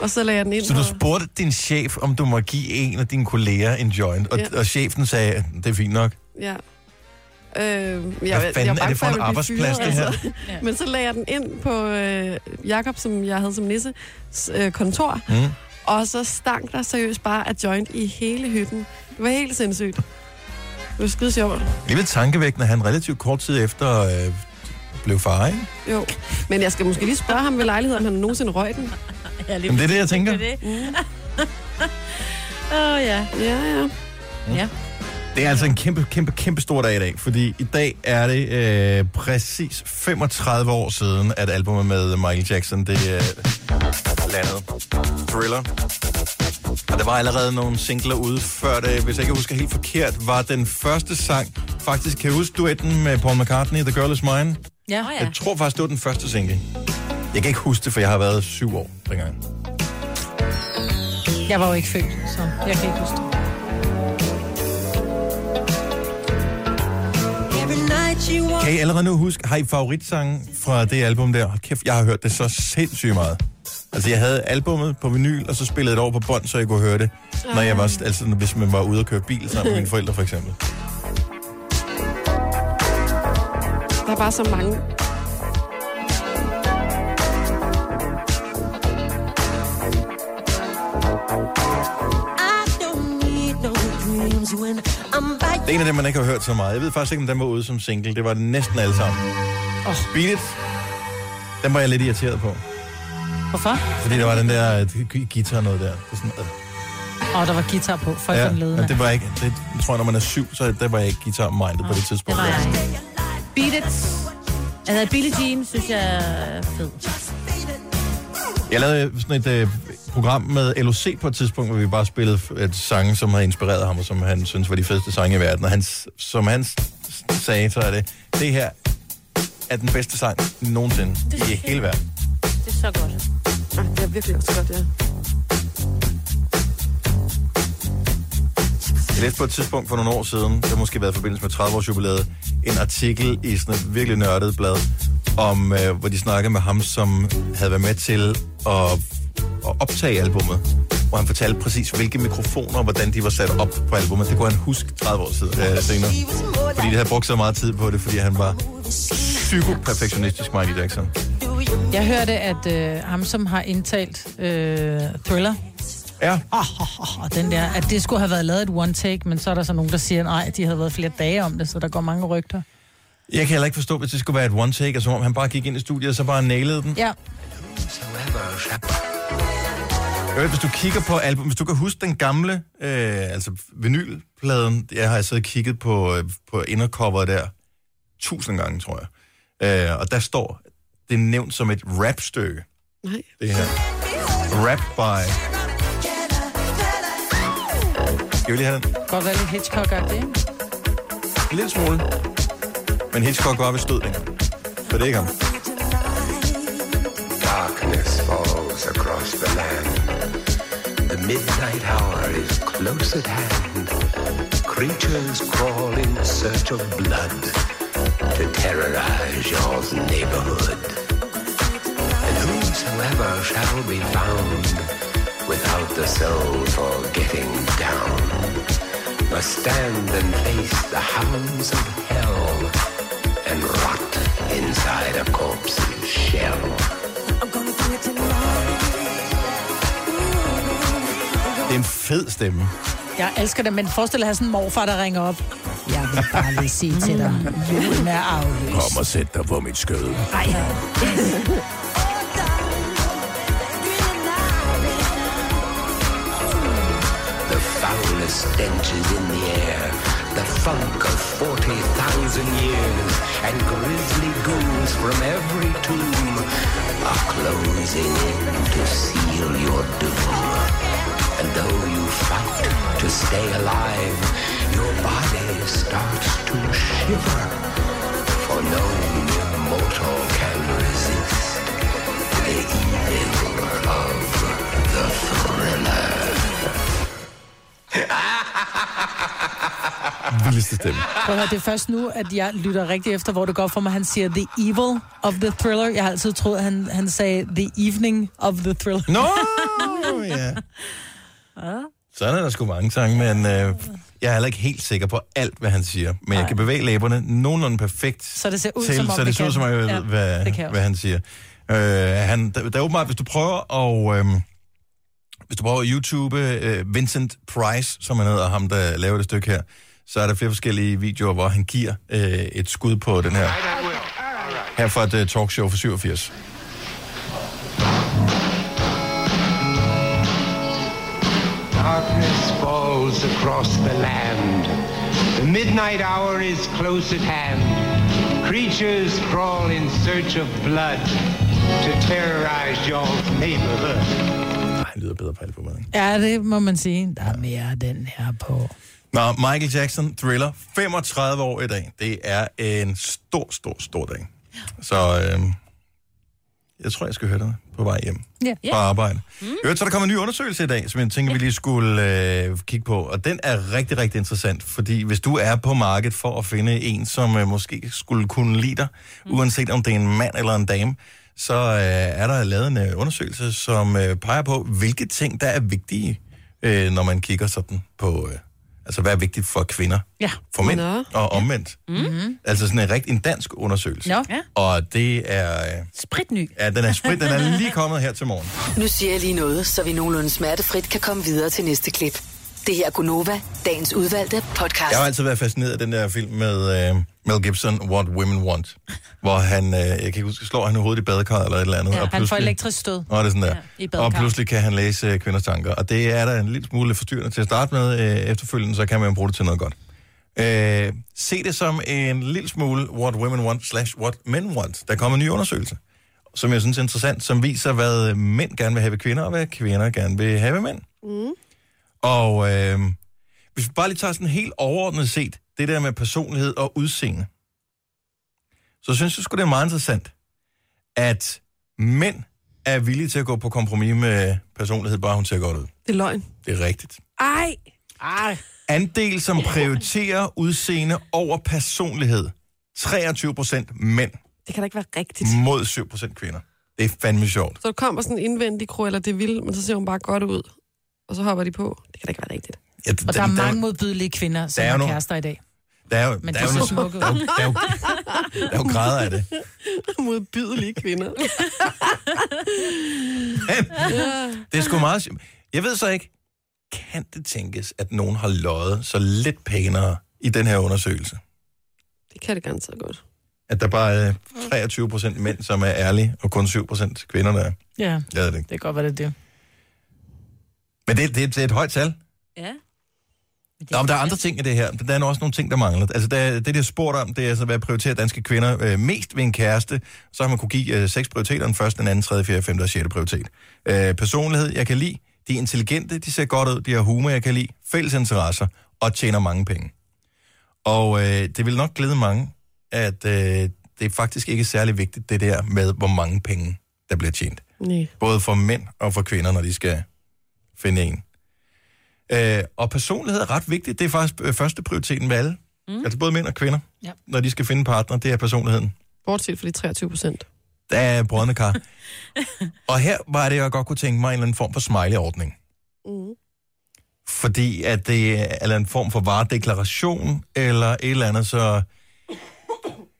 S2: Og så lagde jeg den ind.
S1: Så du
S2: og-
S1: spurgte din chef, om du må give en af dine kolleger en joint, og,
S2: Ja.
S1: og chefen sagde, det er fint nok.
S2: Ja. Øh, jeg,
S1: fanden
S2: jeg
S1: er
S2: var
S1: det
S2: bange
S1: for
S2: at
S1: en
S2: jeg ville blive
S1: arbejdsplads, det her?
S2: altså. Men så lagde jeg den ind på øh, Jakob, som jeg havde som nisse, s- øh, kontor.
S1: Mm.
S2: Og så stank der seriøst bare af joint i hele hytten. Det var helt sindssygt. Det var skide sjovt.
S1: Lige ved tankevækkende, at han relativt kort tid efter øh, blev far, ikke?
S2: Jo. Men jeg skal måske lige spørge ham ved lejlighed, om han nogensinde røg den.
S3: (laughs) Ja,
S1: Jamen, det er det, jeg tænker.
S3: Det er det. (laughs)
S2: Åh, oh, ja. Ja, ja.
S3: Ja.
S1: Det er altså en kæmpe, kæmpe, kæmpe stor dag i dag, fordi i dag er det øh, præcis 35 år siden, at albumet med Michael Jackson, det øh, landede. Thriller. Og der var allerede nogle singler ude før det, hvis jeg ikke husker helt forkert, var den første sang, faktisk kan jeg huske duetten med Paul McCartney, The Girl Is Mine?
S4: Ja.
S1: Jeg tror faktisk, det var den første single. Jeg kan ikke huske det, for jeg har været syv år dengang.
S4: Jeg var jo ikke født, så jeg kan ikke huske det.
S1: Kan I allerede nu huske, har I favoritsange fra det album der? Hold kæft, jeg har hørt det så sindssygt meget. Altså, jeg havde albummet på vinyl, og så spillede jeg det over på bånd, så jeg kunne høre det, når jeg var, altså, hvis man var ude og køre bil sammen med mine forældre, for eksempel.
S2: Der er bare så mange.
S1: Det er en af dem, man ikke har hørt så meget. Jeg ved faktisk ikke, om den var ude som single. Det var den næsten alle sammen.
S4: Oh.
S1: Beat It, den var jeg lidt irriteret på.
S4: Hvorfor?
S1: Fordi der var den der øh, gu- guitar noget der. Det er sådan, øh.
S4: Og der var guitar på. Folk ja,
S1: ja, og det var ikke, det, jeg tror, når man er syv, så der var jeg ikke guitar-minded på det tidspunkt.
S3: Nej. Beat it. Altså, Billie Jean synes jeg er fed.
S1: Jeg lavede sådan et øh, program med LOC på et tidspunkt, hvor vi bare spillede et sange, som havde inspireret ham, og som han synes var de fedeste sange i verden. Og han, s- som han s- s- sagde, så er det, det her er den bedste sang nogensinde i hele verden.
S3: Det er så godt.
S2: Ah, det er virkelig også godt, ja.
S1: Jeg læste på et tidspunkt for nogle år siden, det har måske været i forbindelse med 30 års jubilæet, en artikel i sådan et virkelig nørdet blad, om, øh, hvor de snakkede med ham, som havde været med til at, at optage albummet. Hvor han fortalte præcis, hvilke mikrofoner og hvordan de var sat op på albumet. Det kunne han huske 30 år siden, øh, senere. Fordi de havde brugt så meget tid på det, fordi han var psykoperfektionistisk Michael Jackson.
S4: Jeg hørte, at øh, ham, som har indtalt øh, Thriller,
S1: Ja.
S4: Oh, oh, oh, den der, at det skulle have været lavet et one take, men så er der så nogen, der siger, nej, de havde været flere dage om det, så der går mange rygter.
S1: Jeg kan heller ikke forstå, hvis det skulle være et one-take, og som om han bare gik ind i studiet, og så bare nailede den.
S4: Ja.
S1: Øh, Hvis du kigger på album, hvis du kan huske den gamle, øh, altså vinylpladen, jeg har siddet og kigget på, øh, på indercover der tusind gange, tror jeg. Øh, og der står, det er nævnt som et rapstykke.
S2: Nej.
S1: Det her. Rap by... Skal vi lige have den?
S4: Godt være lidt hitchcock ikke?
S1: En lille smule. Men Hitchcock var ved stød dengang. Så det er ikke ham.
S12: Darkness falls across the land. The midnight hour is close at hand. Creatures crawl in search of blood to terrorize your neighborhood. And whosoever shall be found without the soul for getting down must stand and face the hounds of hell and rot inside a corpse's shell.
S1: Det er en fed stemme.
S4: Jeg elsker det, men forestil dig at have sådan en morfar, der ringer op. Mm. Jeg vil bare lige sige til dig, julen er aflyst.
S1: Kom og sæt dig på mit skød.
S4: Ej,
S12: The foulest stench is in the air. The funk of 40,000 years. And grisly goons from every tomb are closing in to seal your doom. And though you fight to stay alive, your body starts to shiver. For no mere mortal can resist the evil of the thriller.
S1: Vildeste stemme.
S4: Prøv at høre, det er først nu, at jeg lytter rigtig efter, hvor det går for mig. Han siger The Evil of the Thriller. Jeg har altid troet, at han, han sagde The Evening of the Thriller.
S1: Nå, (laughs) ja. Sådan er der sgu mange sange, men øh, jeg er heller ikke helt sikker på alt, hvad han siger. Men jeg kan bevæge læberne nogenlunde perfekt
S4: Så det ser ud,
S1: til,
S4: som om
S1: så det
S4: vi
S1: ser ud
S4: kan.
S1: som om, jeg ved,
S4: Ja,
S1: ja, hvad,
S4: det kan jeg
S1: hvad han siger. Øh, han, der, der er åbenbart, hvis du prøver at... Øh, hvis du prøver at YouTube øh, Vincent Price, som han hedder, ham der laver det stykke her, så er der flere forskellige videoer, hvor han giver øh, et skud på den her. Her fra et øh, talkshow for 87.
S12: Darkness falls across the land. The midnight hour is close at hand. Creatures crawl in search of blood to terrorize your neighborhood.
S1: Han lyder bedre på albumet. ikke?
S4: Ja, det må man sige. Der er mere af den her på.
S1: Nå, Michael Jackson, Thriller, 35 år i dag. Det er en stor, stor, stor dag. Så øh, jeg tror, jeg skal høre dig på vej hjem
S5: Ja.
S1: fra arbejde. Mm. Øvrigt, så er der kommet en ny undersøgelse i dag, som jeg tænker, vi lige skulle øh, kigge på. Og den er rigtig, rigtig interessant, fordi hvis du er på markedet for at finde en, som øh, måske skulle kunne lide dig, mm. uanset om det er en mand eller en dame, så øh, er der lavet en øh, undersøgelse, som øh, peger på, hvilke ting, der er vigtige, øh, når man kigger sådan på... Øh, altså, hvad er vigtigt for kvinder,
S4: Ja.
S1: for mænd
S4: Nå.
S1: og omvendt.
S4: Mm-hmm.
S1: Altså sådan en rigtig en dansk undersøgelse.
S4: Nå. Ja.
S1: Og det er... øh,
S3: Spritny.
S1: Ja, den er sprit, den er lige kommet her til morgen.
S6: Nu siger jeg lige noget, så vi nogenlunde smertefrit kan komme videre til næste klip. Det her er Gunova, dagens udvalgte podcast.
S1: Jeg har altid været fascineret af den der film med øh, Mel Gibson, What Women Want, hvor han, øh, jeg kan ikke huske, slår han hovedet i badekarret eller et eller andet.
S4: Ja,
S1: og
S4: han får elektrisk stød.
S1: Og, det er sådan der.
S4: i
S1: Ja, og
S4: badekarret.
S1: pludselig kan han læse øh, kvinders tanker, og det er der en lille smule forstyrrende til at starte med. Øh, efterfølgende, så kan man bruge det til noget godt. Øh, se det som en lille smule What Women Want slash What Men Want. Der kommer en ny undersøgelse, som jeg synes er interessant, som viser, hvad mænd gerne vil have ved kvinder, og hvad kvinder gerne vil have ved mænd.
S5: Mm.
S1: Og øh, hvis vi bare lige tager sådan helt overordnet set, det der med personlighed og udseende, så synes jeg sgu, det er meget interessant, at mænd er villige til at gå på kompromis med personlighed, bare hun ser godt ud.
S2: Det er løgn.
S1: Det er rigtigt.
S2: Ej! Ej!
S1: Andel, som prioriterer udseende over personlighed. 23 procent mænd
S2: Det kan da ikke være rigtigt.
S1: mod 7 procent kvinder. Det er fandme sjovt.
S2: Så kommer sådan en indvendig kro, eller det vil, men så ser hun bare godt ud. Og så hopper de på. Det kan da ikke være rigtigt.
S1: Ja, d-
S4: Og der er
S1: der-
S4: mange modbydelige kvinder, som
S1: Der er jo
S4: har
S1: nogle-
S4: kærester i dag.
S1: Der er jo,
S4: Men
S1: der
S4: de
S1: er jo,
S4: ser
S1: nogle-
S4: smukke ud.
S1: der er jo, der er jo, der er
S2: (laughs)
S1: jo grader af
S4: (laughs)
S1: det.
S2: Modbydelige kvinder.
S1: Det er sgu meget... sjovt. Jeg ved så ikke, kan det tænkes, at nogen har løjet så lidt pænere i den her undersøgelse?
S2: Det kan det ganske godt.
S1: At der bare er 23 procent mænd, som er ærlige, og kun 7 procent kvinder, der er.
S4: Ja, det
S1: Jeg ved det ikke.
S4: kan godt være det er det.
S1: Men det, det, det er et højt tal.
S3: Ja.
S1: Nå, men der er andre ting i det her. Der er også nogle ting, der mangler. Altså, der, det, der spurgt om, det er altså, hvad prioriterer danske kvinder øh, mest ved en kæreste? Så har man kunne give øh, seks prioriteter. Den første, den anden, tredje, fjerde, femte og sjette prioritet. Øh, personlighed, jeg kan lide. De er intelligente, de ser godt ud, de har humor, jeg kan lide. Fælles interesser og tjener mange penge. Og øh, det vil nok glæde mange, at øh, det er faktisk ikke særlig vigtigt, det der med, hvor mange penge, der bliver tjent.
S2: Nej.
S1: Både for mænd og for kvinder, når de skal finde en. Øh, og personlighed er ret vigtigt. Det er faktisk øh, første prioriteten med alle. Mm. Altså både mænd og kvinder,
S2: Ja.
S1: når de skal finde en partner, det er personligheden.
S2: Bortset fra de 23 procent.
S1: Der er brødende kar. og her var det, jeg godt kunne tænke mig en eller anden form for smiley-ordning.
S2: Mm.
S1: Fordi at det er en eller anden form for varedeklaration, eller et eller andet, så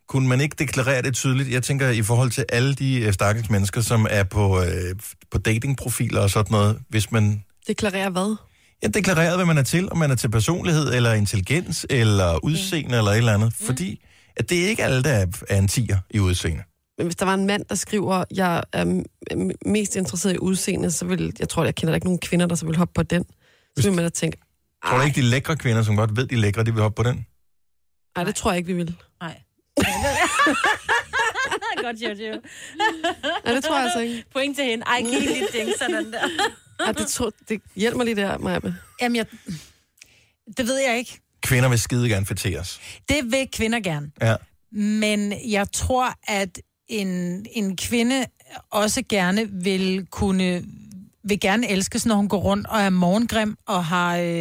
S1: kunne man ikke deklarere det tydeligt. Jeg tænker i forhold til alle de øh, stakkels mennesker, som er på, øh, på datingprofiler og sådan noget, hvis man
S2: Deklarerer hvad?
S1: Ja, deklareret, hvad man er til, om man er til personlighed, eller intelligens, eller udseende, eller et eller andet.
S4: Mm.
S1: Fordi at det er ikke alle, der er- er en tiger i udseende.
S2: Men hvis der var en mand, der skriver, jeg er m- mest interesseret i udseende, så vil, jeg tror, jeg kender da ikke nogen kvinder, der så vil hoppe på den. Så vil man da tænke, "Ah,
S1: Tror du ikke, de lækre kvinder, som godt ved, de er lækre, de vil hoppe på den?
S2: nej, det tror jeg ikke, vi vil.
S3: Nej. (laughs) Godt, Jojo.
S2: Nej, det tror jeg altså ikke.
S3: Point til hende. Ej, giv hende lige et ding, sådan der.
S2: Ja, det, tror, det hjælper lige der, Maja.
S4: Jamen, jeg... Det ved jeg ikke.
S1: Kvinder vil skide gerne fætteres.
S4: Det vil kvinder gerne.
S1: Ja.
S4: Men jeg tror, at en, en kvinde også gerne vil kunne vil gerne elskes, når hun går rundt og er morgengrim og har øh,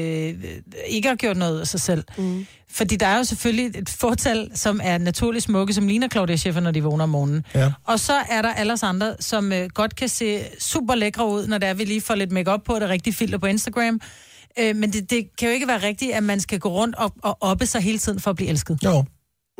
S4: ikke har gjort noget af sig selv. Mm. Fordi der er jo selvfølgelig et fortal, som er naturligt smukke, som ligner Claudia Schiffer, når de vågner om morgenen.
S1: Ja.
S4: Og så er der alle os andre, som øh, godt kan se super lækre ud, når der er, vi lige får lidt makeup på, og det rigtige filter på Instagram. Øh, men det, det kan jo ikke være rigtigt, at man skal gå rundt og, og oppe sig hele tiden for at blive elsket.
S1: Jo.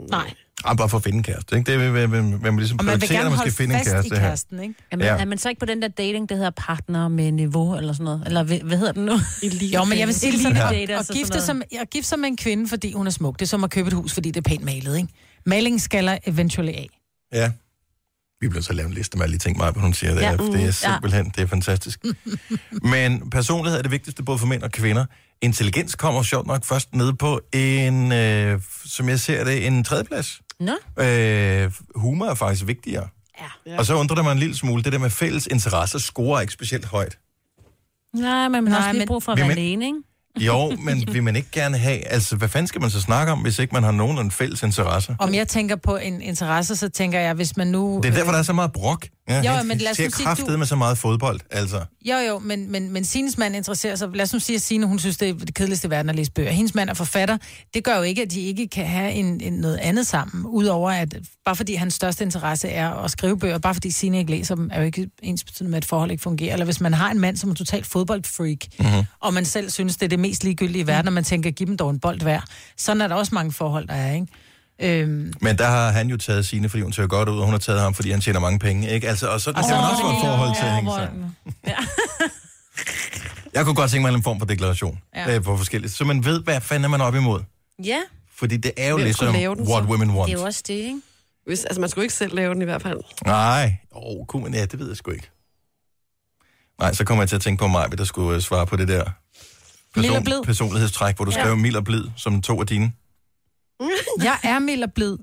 S4: Nej.
S1: Ah, bare for at finde en kæreste, ikke? Det er, hvad, hvad, hvad man ligesom
S4: Og man vil
S1: prioriterer,
S4: gerne
S1: når man skal finde en
S4: holde fast i
S1: kæreste. her.
S4: kæresten, ikke?
S3: Jamen,
S1: Ja.
S3: ja. er man så ikke på den der dating, der hedder partner med niveau eller sådan noget? Eller hvad, hvad hedder den nu?
S2: Elite.
S4: Jo, men jeg vil sige
S3: Elite
S4: sådan,
S3: daters
S4: at, at
S3: altså sådan
S4: gifte,
S3: noget.
S4: som, at gifte sig med en kvinde, fordi hun er smuk, det er som at købe et hus, fordi det er pænt malet, ikke? Maling skaller eventually af.
S1: Ja. Vi bliver så lavet en liste med alle de ting, Maja, hun siger. Det,
S4: Ja,
S1: ja.
S4: mm,
S1: det er
S4: ja.
S1: simpelthen det er
S4: (laughs)
S1: fantastisk. Men personlighed er det vigtigste både for mænd og kvinder. Intelligens kommer sjovt nok først ned på en, øh, som jeg ser det, en tredjeplads.
S3: Nå.
S1: Øh, humor er faktisk vigtigere. Ja. Og så undrer det mig en lille smule, det der med fælles interesser scorer ikke specielt højt.
S3: Nej, men man har
S4: Nej,
S3: også lige
S4: men-
S3: brug for at
S1: Vil
S3: være
S1: man-
S3: alene, ikke?
S1: Jo,
S4: (laughs)
S1: men vil man ikke gerne have... Altså, hvad fanden skal man så snakke om, hvis ikke man har nogen fælles interesser?
S4: Om jeg tænker på en interesse, så tænker jeg, hvis man nu...
S1: Det er derfor, der er så meget brok.
S4: Jo,
S1: han
S4: men lad os
S1: ser
S4: nu sige,
S1: kraftedeme
S4: du-
S1: så meget fodbold, altså.
S4: Jo, jo, men, men, men Sines mand interesserer sig... Lad os nu sige, at Sine, hun synes, det er det kedeligste i verden at læse bøger. Hendes mand er forfatter. Det gør jo ikke, at de ikke kan have en, en, noget andet sammen, udover at bare fordi hans største interesse er at skrive bøger, bare fordi Sine ikke læser dem, er jo ikke ens betydende med, at et forhold ikke fungerer. Eller hvis man har en mand, som er totalt fodboldfreak,
S13: Mhm.
S4: og man selv synes, det er det mest ligegyldige i verden, og man tænker, giv dem dog en bold hver. Sådan er der også mange forhold, der er, ikke? Øhm,
S1: Men der har han jo taget sine, fordi hun ser godt ud, og hun har taget ham, fordi han tjener mange penge, ikke? Altså, og sådan
S4: Og
S1: kan
S4: så
S1: man
S4: er
S1: også
S4: det
S1: få et
S4: hele
S1: forhold til at hænge sammen.
S4: overvolden.
S1: Jeg kunne godt tænke mig en eller anden form for deklaration
S3: Ja.
S1: ja. øh, på forskelligt, så man ved, hvad fanden er man op imod.
S3: Ja.
S1: Fordi det er jo
S2: Hvem
S1: lidt som
S2: skulle lave den,
S1: what
S2: så?
S1: women want.
S2: Det er jo
S3: også det, ikke?
S2: Hvis, altså, man skulle ikke selv lave den i hvert fald.
S1: Nej, oh, kunne man, ja, det ved jeg sgu ikke. Nej, så kommer jeg til at tænke på mig, der skulle øh, svare på det der
S4: Mild og blid.
S1: personlighedstræk, hvor du
S4: Ja.
S1: skrev mild og blid, som to af dine.
S4: jeg er mild og blid.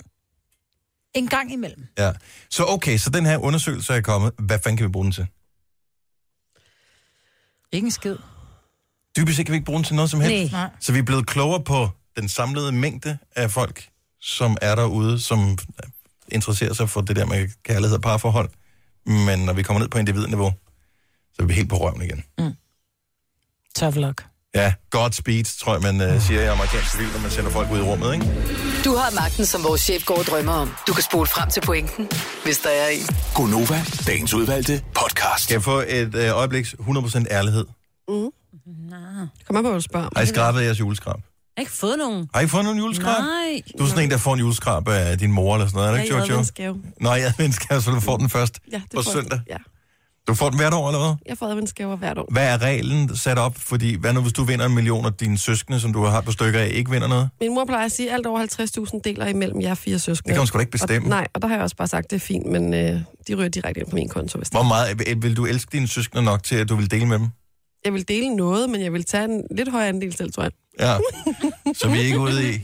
S4: En gang imellem.
S1: Ja. Så okay, så den her undersøgelse er kommet. Hvad fanden kan vi bruge den til?
S4: Ikke en skid.
S1: Dybest set kan vi ikke bruge den til noget som helst.
S4: Nej. Nej.
S1: Så vi er blevet klogere på den samlede mængde af folk, som er derude, som interesserer sig for det der med kærlighed og parforhold. Men når vi kommer ned på individniveau, så er vi helt på røven igen.
S4: Tough luck.
S1: Ja, Godspeed, tror jeg, man øh, siger i amerikansk film, når man sender folk ud i rummet, ikke?
S6: Du har magten, som vores chef går og drømmer om. Du kan spole frem til pointen, hvis der er en.
S7: Gonova, dagens udvalgte podcast.
S1: Skal jeg få et øh, øjebliks 100% ærlighed?
S2: Mm. Kom op og spørg.
S1: Har I skrabet jeres juleskrab?
S3: Jeg har ikke fået nogen.
S1: Har I fundet en juleskrab?
S3: Nej.
S1: Du er sådan en, der får en juleskrab af din mor eller sådan noget, er det ikke, Jojo? Nå, jeg adventsgave, (laughs) så du får den først
S2: Ja, det
S1: på
S2: får jeg.
S1: søndag.
S2: Ja.
S1: Du får den hvert år, eller hvad?
S2: Jeg får adventsgaver hvert år.
S1: Hvad er reglen sat op? Fordi hvad nu, hvis du vinder en million, og dine søskende, som du har på stykker af, ikke vinder noget?
S2: Min mor plejer at sige, at alt over 50.000 deler imellem jer fire søskende.
S1: Det kan hun sgu da ikke bestemme.
S2: Og, nej, og der har jeg også bare sagt, det er fint, men øh, de ryger direkte ind på min konto. Hvis det.
S1: Hvor meget øh, vil du elske dine søskende nok til, at du vil dele med dem?
S2: Jeg vil dele noget, men jeg vil tage en lidt højere andel selv, tror jeg.
S1: Ja. Så vi er ikke ude i,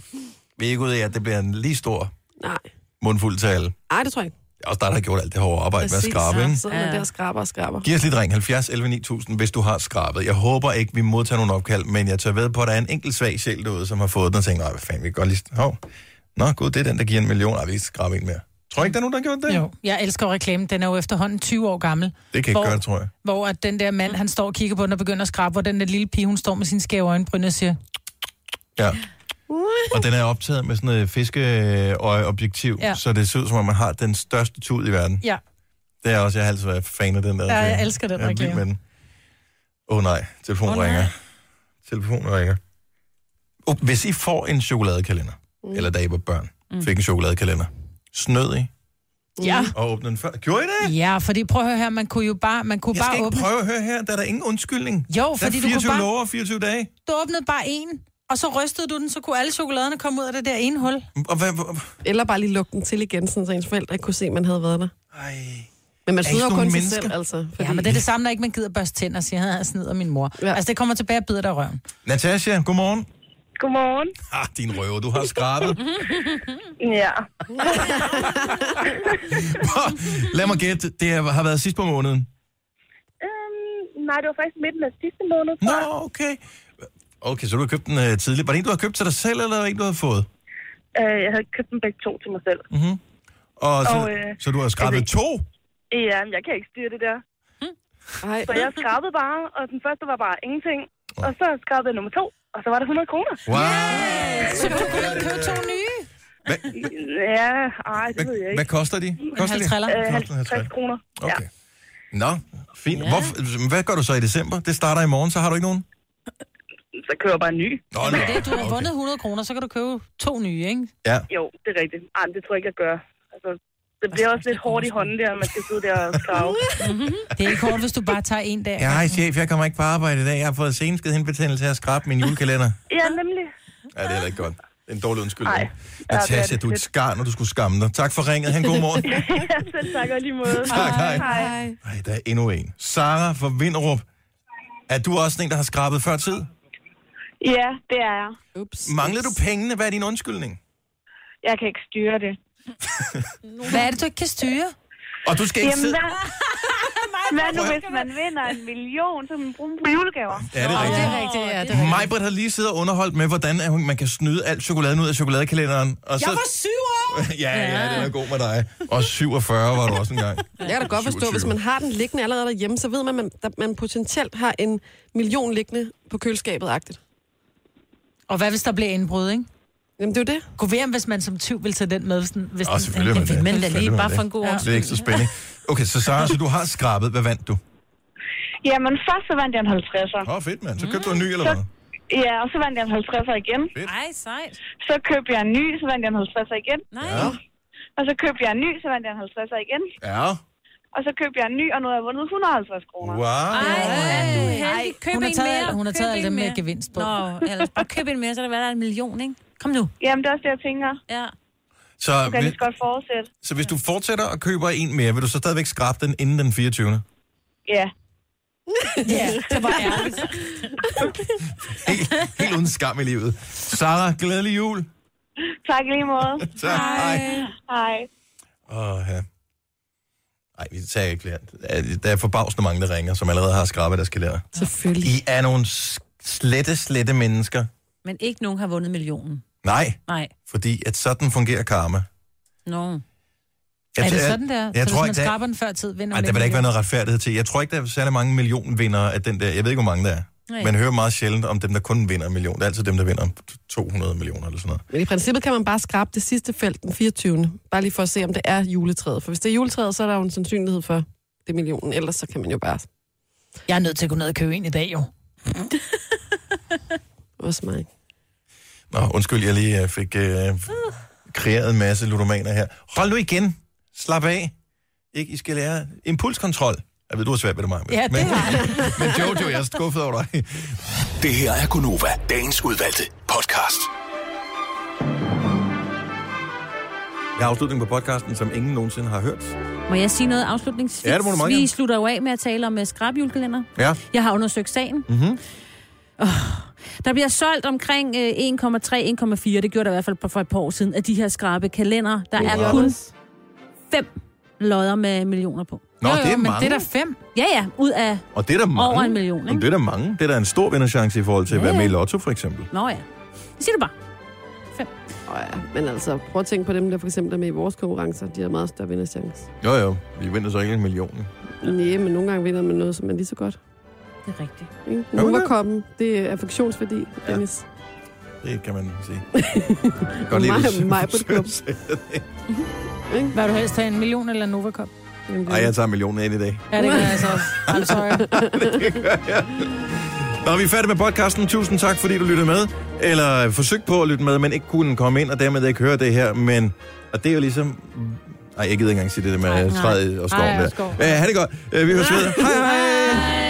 S1: vi er ikke ude i at det bliver en lige stor
S2: Nej.
S1: mundfuld til alle.
S2: Nej, det tror jeg ikke.
S1: Det er også dig, der har gjort alt det hårde arbejde med at skrabe,
S2: ja.
S1: ikke?
S2: Sidder man der og skraber og skraber.
S1: Giv os lidt ring, 70 11 9000, hvis du har skrabet. Jeg håber ikke, vi modtager nogle opkald, men jeg tager ved på, at der er en enkelt svag sjæl derude, som har fået den og tænkt, nej, hvad fanden, vi kan godt lige... Hov. Nå, gud, det er den, der giver en million. Ej, vi skal skrabe en mere. Tror du ikke, der er nogen, der har gjort det?
S4: Jo, jeg elsker reklamen. Den er jo efterhånden 20 år gammel.
S1: Det kan ikke
S4: hvor,
S1: gøre det, tror jeg.
S4: Hvor at den der mand, han står og kigger på den og begynder at skrabe, hvor den der lille pige, hun står med sine skæve øjenbryn og siger,
S1: Ja. Og den er optaget med sådan et fiskeøjeobjektiv,
S4: Ja.
S1: ja. så det ser ud som om, man har den største tud i verden.
S4: ja,
S1: Det er også, jeg har altid været fan af den der.
S4: Ja, jeg
S1: reklame.
S4: elsker den
S1: jeg er vild
S4: reklame.
S1: med den. Åh oh, nej, telefonen
S4: Åh,
S1: oh,
S4: nej.
S1: ringer. Telefonen ringer. Oh, hvis I får en chokoladekalender,
S4: Mm.
S1: mm. eller da I var børn,
S4: Mm.
S1: mm. fik en chokoladekalender, snød I
S4: ja.
S1: og åbnede den før. Gjorde I det?
S4: Ja, fordi prøv at høre her, man kunne jo bare, man kunne
S1: Jeg
S4: bare
S1: skal ikke
S4: åbne...
S1: prøve at høre her, der er der ingen undskyldning.
S4: Jo,
S1: der er
S4: fordi du
S1: 24
S4: kunne bare...
S1: love og 24 dage.
S4: Du åbnede bare en, og så rystede du den, så kunne alle chokoladerne komme ud af det der ene hul.
S1: Og hvad, hvad,
S2: Eller bare lige lukke den til igen, sådan, så ens forældre ikke kunne se, at man havde været der.
S1: Ej.
S2: Men
S4: Er
S2: man
S4: I
S2: sidder jo
S4: sådan
S2: kun
S4: nogle
S2: sig
S4: mennesker?
S2: selv, altså.
S4: Ja, men det er det samme, når ikke man gider børste tænder og siger, at jeg snyder min mor. Ja. Altså, det kommer tilbage og bider dig i røven.
S1: Natasha, godmorgen.
S11: Godmorgen.
S1: Ah, din røver, du har skrabet.
S11: ja.
S1: (laughs) Lad mig gætte, det er- har været sidst på måneden.
S11: øhm, nej, det var faktisk midten af sidste måned.
S1: Nå, okay. Okay, så du har købt den uh, tidligt. Var det en, du har købt til dig selv, eller var det en, du har fået?
S11: Øh, jeg havde købt dem begge to til mig selv.
S12: Mm.
S1: Mm-hmm. Og så,
S11: Og,
S1: og
S11: øh,
S1: øh, så du har skrabet
S11: altså-
S1: to?
S11: Ja, men jeg kan ikke styre det der.
S2: Ej.
S11: Så jeg skrabede bare, og den første var bare ingenting. Og så skrabede jeg nummer to, og så var der 100 kroner.
S1: Wow.
S4: Så du kunne ud og købe to nye?
S1: Hvad,
S11: Ja, ej, det ved jeg ikke.
S1: hvad koster de? Koster de?
S11: Øh,
S1: Koster
S11: 50 kroner.
S1: Okay. Nå, fint. Ja. Hvor, hvad gør du så i december? Det starter i morgen, så har du ikke nogen?
S11: Så kører jeg bare en ny.
S1: Nå,
S4: Jamen, det, du har
S1: okay.
S4: vundet 100 kroner, så kan du købe to nye, ikke?
S1: Ja.
S11: Jo, det er rigtigt. Ej, men det tror jeg ikke, jeg gør. Altså, det bliver også lidt hårdt i hånden der, man skal sidde der og
S12: (laughs)
S11: skrave.
S4: Det er ikke hårdt, hvis du bare tager en dag.
S1: Ja, hej chef, jeg kommer ikke på arbejde i dag. Jeg har fået senskede henbetændelse til at skrabe min julekalender.
S11: ja, nemlig. (laughs)
S1: Ja, det er heller ikke godt. Det er en dårlig undskyldning.
S11: Nej. Ja, det er
S1: Natasha,
S11: det.
S1: du er et skar, når du skulle skamme dig. Tak for ringet. Han god
S11: (laughs)
S1: morgen.
S11: ja, selv tak og i lige måde.
S1: Tak, hej.
S11: hej.
S1: Ej, der er endnu en. Sara fra Vinderup. Er du også sådan en, der har skrabet før tid?
S13: Ja, det er jeg.
S2: Ups.
S1: Mangler du pengene? Hvad er din undskyldning?
S13: Jeg kan ikke styre det.
S4: Hvad er det, du ikke kan styre?
S1: Og du skal ikke sidde... (laughs)
S13: hvad, hvad nu, hvis man vinder en million, så kan man bruge dem på julegaver?
S1: Ja, det er rigtigt.
S4: Det er rigtigt, ja. Det er rigtigt.
S1: Majbert har lige siddet og underholdt med, hvordan at hun- man kan snyde alt chokoladen ud af chokoladekalenderen. Og så...
S4: Jeg var syv år!
S1: (laughs) ja, ja, den er god med dig. Og 47 var du også engang.
S2: Jeg kan da godt forstå,
S1: 27.
S2: hvis man har den liggende allerede derhjemme, så ved man, at man, at man potentielt har en million liggende på køleskabet-agtigt.
S4: Og hvad hvis der bliver indbrud, ikke?
S2: Jamen, det er jo det.
S4: Gå ved, om hvis man som tyv vil tage den med. Hvis den, hvis
S1: Og selvfølgelig
S4: den,
S1: vil man det.
S4: den, den, den,
S1: Selvfølgelig
S4: lige
S1: vil
S4: bare
S1: man
S4: for
S1: det.
S4: en god
S1: Ja. Det er ekstra spændende. Okay, så Sara, så du har skrabet. Hvad vandt du?
S13: Jamen, først så vandt jeg en 50'er.
S1: Åh, oh, fedt, mand. Så købte du en ny, eller hvad?
S13: Ja, og Mm. så vandt jeg en 50'er igen.
S3: Ej, sejt.
S13: Så købte jeg en ny, så vandt jeg en 50'er igen.
S3: Nej.
S1: Ja.
S13: Og så købte jeg en ny, så vandt jeg en 50'er igen.
S1: Ja.
S13: Og så købte jeg en ny, og nu har jeg vundet 150 kroner.
S1: Wow.
S3: Ej, du er heldig. Køb
S4: Hun har
S3: en
S4: taget-
S3: mere.
S4: hun har
S3: Køb
S4: taget
S3: en
S4: alle dem med
S3: mere.
S4: gevinst på.
S3: Nå, ellers bare køb en mere, så er der været en million, ikke? Kom nu.
S13: Jamen, det er også det, jeg tænker.
S3: Ja.
S1: Så,
S13: Du kan
S1: hvis,
S13: lige så godt fortsætte.
S1: så hvis du fortsætter og køber en mere, vil du så stadigvæk skrabe den inden den 24.
S13: Ja.
S4: Ja, det
S3: (laughs)
S4: var ærligt.
S1: Helt uden skam i livet. Sara, glædelig jul.
S13: Tak i lige
S1: (laughs)
S13: måde.
S1: Tak. Hej.
S13: Hej.
S1: Åh, ja. Ej, vi tager ikke flere. Der er- Der er forbavsende mange, der ringer, som allerede har skrabet deres kalender.
S2: Selvfølgelig.
S1: I er nogle s- slette, slette mennesker.
S3: Men ikke nogen har vundet millionen.
S1: Nej,
S3: Nej.
S1: fordi at sådan fungerer karma.
S3: Nå. No.
S4: Er det
S1: tror-
S4: sådan der?
S1: Jeg, jeg
S4: så
S1: tror
S4: hvis
S1: ikke,
S4: man
S1: der,
S4: skraber den før tid, vinder
S1: ej, der
S4: man
S1: vil der ikke være noget retfærdighed til. Jeg tror ikke, der er særlig mange millionvindere af den der. Jeg ved ikke, hvor mange der er.
S2: Nej.
S1: Man hører meget sjældent om dem, der kun vinder en million. Det er altid dem, der vinder 200 millioner eller sådan noget.
S2: Men i princippet kan man bare skrabe det sidste felt den 24. Bare lige for at se, om det er juletræet. For hvis det er juletræet, så er der jo en sandsynlighed for det er millionen. Ellers så kan man jo bare...
S4: Jeg er nødt til at gå ned og købe en i dag, jo.
S2: Også mig.
S1: Nå, undskyld, jeg lige øh, fik øh, kreeret en masse ludomaner her. Hold nu igen. Slap af. Ikke? I skal lære impulskontrol. Jeg ved, du har svært ved det, meget.
S7: Ja, det
S1: men,
S7: har jeg.
S1: (laughs) men Jojo, jeg er skuffet over dig.
S7: Det her er Gunova, dagens udvalgte podcast.
S1: Jeg har afslutningen på podcasten, som ingen nogensinde har hørt.
S3: Må jeg sige noget afslutningsvis?
S1: Ja, det må du meget gerne.
S3: Vi øh, slutter jo af med at tale om uh, skrabjulekalender.
S1: Ja.
S3: Jeg har undersøgt sagen.
S1: Mm-hmm.
S3: Der bliver solgt omkring øh, 1,3-1,4, det gjorde der i hvert fald for- for et par år siden, af de her skrabe kalender. Der
S4: Det
S3: er
S4: er
S3: kun
S4: jobbes.
S3: fem lodder med millioner på.
S1: Nå, det er
S3: men
S1: mange.
S3: det er der
S4: fem.
S3: Ja, ja, ud af...
S1: Og det er der mange.
S3: Over en million, ikke?
S1: Jamen, Det er der mange. Det er der en stor vinderchance i forhold til at
S3: Ja,
S1: være med i
S3: ja.
S1: Lotto, for eksempel.
S3: Nå ja, det siger du bare.
S2: Oh, ja. Men altså, prøv at tænke på dem, der for eksempel er med i vores konkurrencer. De har meget større vinderchance.
S1: Jo, jo. Vi vinder så ikke en million.
S2: Nej, men nogle gange vinder man noget, som er lige så godt.
S3: Det er rigtigt.
S2: Ikke?
S1: Gør man det?
S2: Novakoppen, det er affektionsværdi, Dennis.
S1: Det kan man (laughs) sige.
S2: Mig-
S1: Godt lige, hvis du
S2: mig på
S1: (laughs) forsøger
S2: klub.
S1: at sige det.
S4: Hvad vil du helst tage, en million eller en Novacop?
S1: Ej, jeg tager millionen ind i dag.
S4: Ja, det gør
S3: (laughs)
S4: jeg altså også. I'm sorry.
S1: Når vi er færdige med podcasten, tusind tak, fordi du lyttede med. Eller forsøgte på at lytte med, men ikke kunne komme ind, og dermed ikke høre det her. Men, og det er jo ligesom... Ej, jeg gider ikke engang sige det der med træet og skoven
S5: nej, og
S1: der.
S5: skov.
S1: (laughs) Øh, ha' det godt. Øh, vi høres ved. Hej, hej.